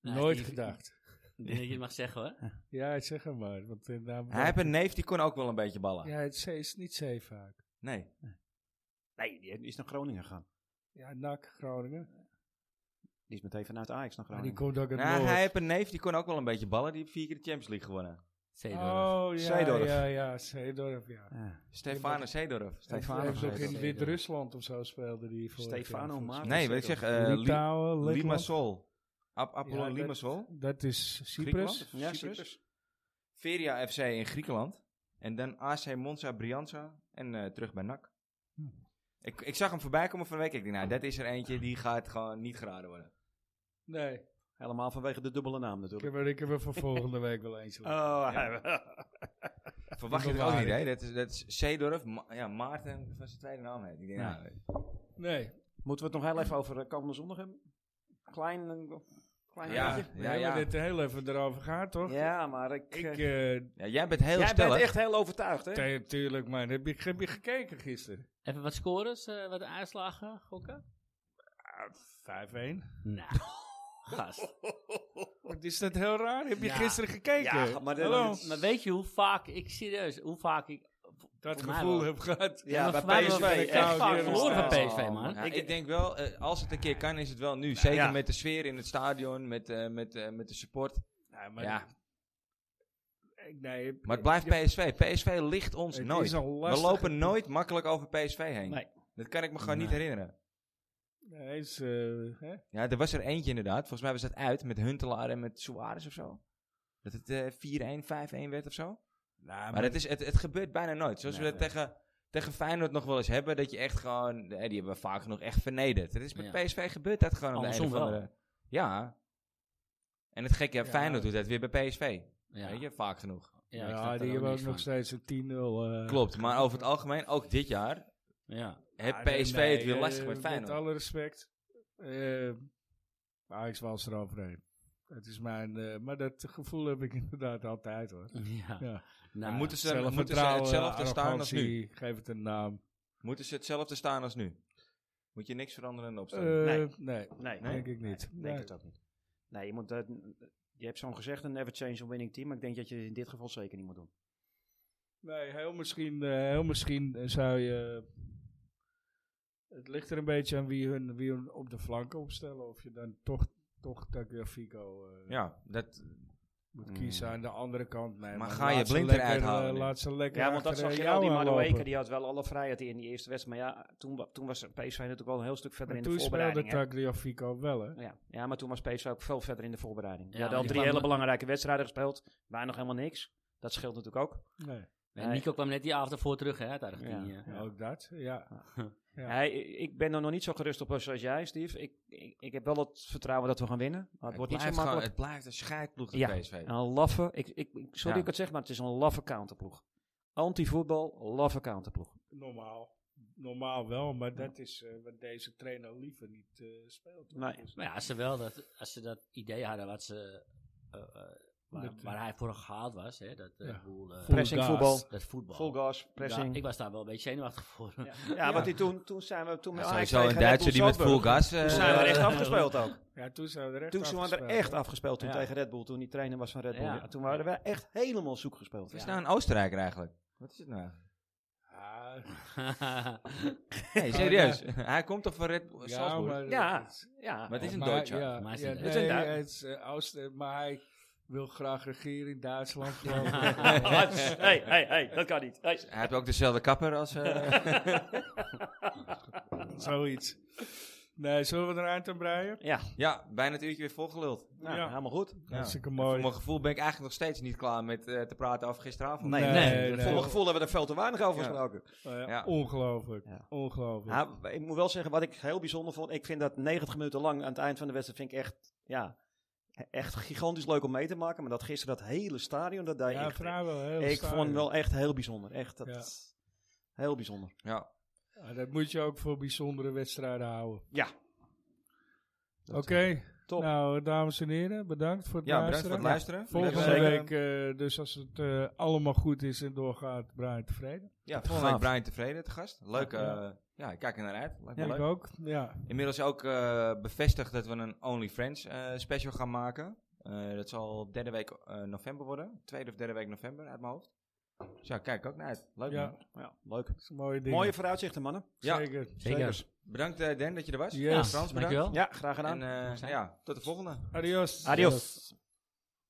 S3: Nee,
S2: Nooit
S3: Steve,
S2: gedacht.
S3: Ik denk dat je het mag zeggen hoor.
S2: Ja, zeg hem maar. Want de naam
S1: Hij heeft een neef, die kon ook wel een beetje ballen.
S2: Ja, het zee is niet zee vaak.
S1: Nee.
S4: Nee, die is naar Groningen gegaan.
S2: Ja, NAC, Groningen.
S4: Die is meteen vanuit Ajax naar
S2: Maar die
S4: Groningen.
S2: komt ook uit
S1: Nou,
S2: Noord.
S1: hij heeft een neef, die kon ook wel een beetje ballen. Die heeft vier keer de Champions League gewonnen.
S3: Zeedorf.
S2: Oh, ja,
S4: Zeedorf.
S2: ja, ja, Zeedorf, ja.
S4: Ja.
S1: Stefano Seedorf.
S4: Stefano
S2: Hij heeft ook
S4: Zeedorf.
S2: in Wit-Rusland of zo speelde die voor.
S4: Stefano Maarten.
S1: Nee, weet ik zeg, eh, Li-
S2: Litouwen, Letland.
S1: Limassol. Ap Apollon
S2: Ja, dat-
S1: Limassol.
S2: Dat is
S1: Griekenland
S2: Cyprus.
S1: of
S4: Ja,
S1: Cyprus?
S4: Cyprus.
S1: Feria FC in Griekenland. En dan AC Monza Brianza. En eh, terug bij NAC. Ik, ik zag hem voorbij komen van de week. Ik denk, nou, dat is er eentje die gaat gewoon niet geraden worden.
S2: Nee,
S4: Helemaal vanwege de dubbele naam
S2: ik heb,
S4: natuurlijk.
S2: er, ik heb er voor volgende week wel eentje. liggen.
S4: Oh,
S1: Verwacht je het ook niet, hè? Dat is, dat is Seedorf, Ma- ja, Maarten van zijn tweede naam. heet. Ik denk,
S2: Ja.
S1: nou,
S2: Nee,
S4: Moeten we het nog heel even over eh, komende zondag hebben? Klein, eh, klein
S1: Ja.
S4: beetje.
S2: we
S1: ja,
S2: hebben
S1: ja.
S2: dit heel even erover gehad, toch?
S4: Ja, maar ik...
S2: Ik,
S4: eh,
S2: eh,
S1: ja, jij bent heel
S4: jij
S1: stellig.
S4: bent echt heel overtuigd, hè?
S2: tu- tuurlijk man, heb je, heb je gekeken gisteren?
S3: Even wat scores, eh, wat uitslagen gokken?
S2: Ah, 5-1.
S3: Nou, gast.
S2: Wat is dat heel raar? Heb je
S3: Ja.
S2: gisteren gekeken?
S4: Ja, maar dat-
S2: Hallo?
S3: Maar weet je hoe vaak ik, serieus, hoe vaak ik...
S2: Dat
S3: voor mij
S2: gevoel
S3: wel.
S2: heb gehad.
S3: Ja, maar
S4: bij
S3: wij
S4: PSV.
S2: hebben
S4: echt.
S2: echt
S4: Ja,
S2: vaak verloren
S4: ja.
S3: van PSV, man.
S1: Ja,
S4: Ik-
S1: ik, denk wel, eh, als het een keer kan, is het wel nu. Zeker
S4: ja.
S1: met de sfeer in het stadion, met, eh, met, eh, met de support.
S2: Nee, maar,
S1: ja.
S2: ik- nee,
S1: Maar het blijft
S2: ja,
S1: PSV. PSV ligt ons
S2: het
S1: nooit.
S2: is een
S1: We
S2: lastige-
S1: lopen nooit makkelijk over PSV heen.
S4: Nee.
S1: Dat kan ik me gewoon niet
S3: Nee.
S1: herinneren.
S2: Nee, het is, eh, hè?
S1: Ja, er was er eentje inderdaad. Volgens mij was dat uit met Huntelaar en met Suarez of zo. Dat het eh, 4-1, 5-1 werd of zo.
S2: Nou,
S1: Maar
S2: maar-
S1: het, is, het, het gebeurt bijna nooit. Zoals we
S2: Nee,
S1: dat tegen, tegen Feyenoord nog wel eens hebben. Dat je echt gewoon... eh, die hebben we vaak genoeg echt vernederd. Het is met
S3: Ja.
S1: PSV gebeurt dat gewoon. op de een
S3: Andersom
S1: of andere- Ja. En het gekke,
S2: Ja.
S1: Feyenoord doet dat weer bij PSV.
S3: Ja,
S1: Weet je, vaak genoeg.
S3: ja, ik
S2: ja,
S3: snap er
S2: die hebben
S3: ook
S2: ook
S3: niks
S2: nog
S3: van.
S2: steeds een 10-0. eh,
S1: Klopt, maar over het algemeen, ook dit jaar...
S3: Ja,
S1: Heeft
S2: Ah, nee,
S1: PSV
S2: nee,
S1: het weer
S2: eh,
S1: lastig met Feyenoord.
S2: Met alle respect. eh Ajax was eroverheen. Het is mijn, eh, maar dat gevoel heb ik inderdaad altijd hoor.
S3: ja.
S2: Ja.
S3: Nou,
S1: moeten ze, moeten ze
S2: Zelfvertrouwen,
S1: hetzelfde staan als nu?
S2: arrogantie, Geef het een naam.
S1: Moeten ze hetzelfde staan als nu? Moet je niks veranderen in de opstelling?
S2: Eh,
S4: Nee.
S2: nee. nee,
S4: Nee,
S2: denk ik niet.
S4: denk
S2: Nee.
S4: het ook niet. Nee, je, moet, eh, je hebt zo'n gezegde, never change a winning team. Maar ik denk dat je het in dit geval zeker niet moet doen.
S2: Nee, heel misschien, eh, heel misschien eh, zou je. Het ligt er een beetje aan wie hun, wie hun op de flanken opstellen. Of je dan toch, toch Tagliafico eh
S1: ja, dat,
S2: moet kiezen aan de andere kant. Nee,
S1: Mm. Maar ga je
S2: laat ze
S1: blind eruit
S2: lekker, eh,
S1: halen nu?
S2: Laat ze lekker.
S4: Ja, want dat
S2: achter,
S4: zag
S2: eh,
S4: je al. Die
S2: jou
S4: Madueke,
S2: aanlopen.
S4: die had wel alle vrijheid in die eerste wedstrijd. Maar ja, toen, wa- toen was PSV natuurlijk al een heel stuk verder
S2: Maar
S4: in de
S2: toen speelde
S4: voorbereiding. hè.
S2: Tagliafico wel, hè?
S4: Ja. ja, maar toen was PSV ook veel verder in de voorbereiding.
S3: Ja,
S4: Ja,
S3: maar
S4: al
S3: die
S4: drie
S3: kwam-
S4: hele belangrijke wedstrijden gespeeld. Weinig helemaal niks. Dat scheelt natuurlijk ook.
S2: Nee,
S3: en Nico kwam net die avond ervoor terug, hè, uit Argentinië.
S4: Ja.
S2: ook dat. Ja, Ja.
S4: Hij- ik ben er nog niet zo gerust op als als jij, Steve. Ik, ik, ik heb wel het vertrouwen dat we gaan winnen. Maar het wordt niet zo
S1: blijft gewoon-
S4: makkelijk.
S1: het blijft een scheidploeg, dat
S4: Ja.
S1: PSV.
S4: Een laffe, ik, ik, ik- sorry
S1: Ja.
S4: ik het zeg, maar het is een laffe counterploeg. Anti-voetbal, laffe counterploeg.
S2: normaal. Normaal wel, maar dat is eh, wat deze trainer liever niet eh, speelt.
S4: Nee.
S2: Dus-
S3: Maar ja, als ze wel dat, als ze dat idee hadden wat ze, eh, eh, waar,
S2: Dat,
S3: waar hij voor gehaald was, hè, dat, eh,
S2: Ja.
S3: boel, eh,
S2: Full
S4: Pressing
S2: gas.
S4: voetbal.
S3: dat voetbal.
S4: Full gas,
S3: Ja,
S4: pressing. Ja,
S3: ik was daar wel een beetje zenuwachtig voor.
S4: want die toen, toen zijn we... Toen
S1: Ja,
S4: met Ajax
S1: sowieso een
S4: tegen Red
S1: Duitser
S4: Bull
S1: die met
S4: Salzburg,
S1: full gas... eh,
S4: Toen zijn we er echt
S3: Ja.
S4: afgespeeld ook.
S2: Ja, toen zijn we er echt
S4: Toen zijn we er
S2: afgespeeld,
S4: echt
S2: hè?
S4: afgespeeld toen
S3: Ja.
S4: tegen Red Bull, toen die trainer was van Red Bull.
S3: Ja.
S4: Ja, toen waren we echt helemaal zoek gespeeld.
S1: Wat is
S4: Ja.
S1: nou een Oostenrijker eigenlijk? Wat is het nou?
S2: Ah,
S1: Nee, serieus. Hij komt toch van Red Bull
S2: ja,
S1: Salzburg? Maar,
S2: maar,
S4: Ja.
S2: het is-
S1: het is een
S2: maar-
S1: Duitser.
S2: Ja,
S3: Maar het is
S2: ja,
S3: een
S2: nee,
S4: Duitser. Het is een
S2: hij is, eh, Oosten- maar hij wil graag regeren in Duitsland. geloof ik.
S4: Oh, hey, hey, hey, dat kan niet. Hey.
S1: Hij heeft ook dezelfde kapper als... eh,
S2: Zoiets. Nee, zullen we er eind aan breien?
S4: Ja,
S1: ja, bijna het uurtje weer volgeluld.
S4: nou,
S2: Ja.
S4: helemaal goed.
S1: Ja.
S2: Hartstikke
S1: Voor
S2: mooi.
S1: mijn gevoel ben ik eigenlijk nog steeds niet klaar met eh, te praten over gisteravond.
S4: Nee,
S2: Nee,
S4: nee.
S2: nee.
S4: Voor mijn gevoel hebben we er veel te weinig over
S1: Ja.
S4: gesproken.
S2: Eh,
S1: Ja.
S2: Ongelooflijk.
S4: Ja. Nou,
S2: Ongelooflijk.
S4: Ja, ik moet wel zeggen, wat ik heel bijzonder vond, ik vind dat 90 minuten lang aan het eind van de wedstrijd vind ik echt, ja, e- echt gigantisch leuk om mee te maken. Maar dat gisteren dat hele stadion, dat daar
S2: ja,
S4: echt,
S2: vrijwel. heel
S4: ik
S2: saai.
S4: vond wel echt heel bijzonder. Echt, dat,
S2: Ja.
S4: heel bijzonder.
S1: Ja.
S2: Ja, dat moet je ook voor bijzondere wedstrijden houden.
S4: Ja.
S2: Oké,
S4: Top.
S2: nou dames en heren, bedankt voor het
S1: ja, bedankt voor
S2: luisteren.
S1: het luisteren.
S2: Volgende
S1: We hebben-
S2: week, eh, dus als het eh, allemaal goed is en doorgaat, Brian tevreden.
S1: Ja, volgende week
S4: Gaaf.
S1: Brian tevreden te gast. Leuk. eh,
S2: Ja.
S1: ja. ik kijk er naar uit. Lijkt me
S2: Ik
S1: leuk.
S2: ook. Ja.
S1: Inmiddels ook eh, bevestigd dat we een OnlyFriends eh special gaan maken. Eh, dat zal derde week eh, november worden. Tweede of derde week november uit mijn hoofd. Dus ja, kijk ik ook naar uit. Leuk
S2: Ja.
S1: man.
S4: Ja, leuk.
S2: Dat is een mooie ding.
S4: Mooie vooruitzichten, mannen.
S1: Ja.
S2: Zeker.
S3: Zeker.
S1: Bedankt eh, Dan dat je er was.
S2: Yes.
S1: Frans, bedankt.
S3: Dankjewel.
S4: Ja, graag gedaan.
S1: En eh, ja, tot de volgende.
S2: Adios.
S4: Adios.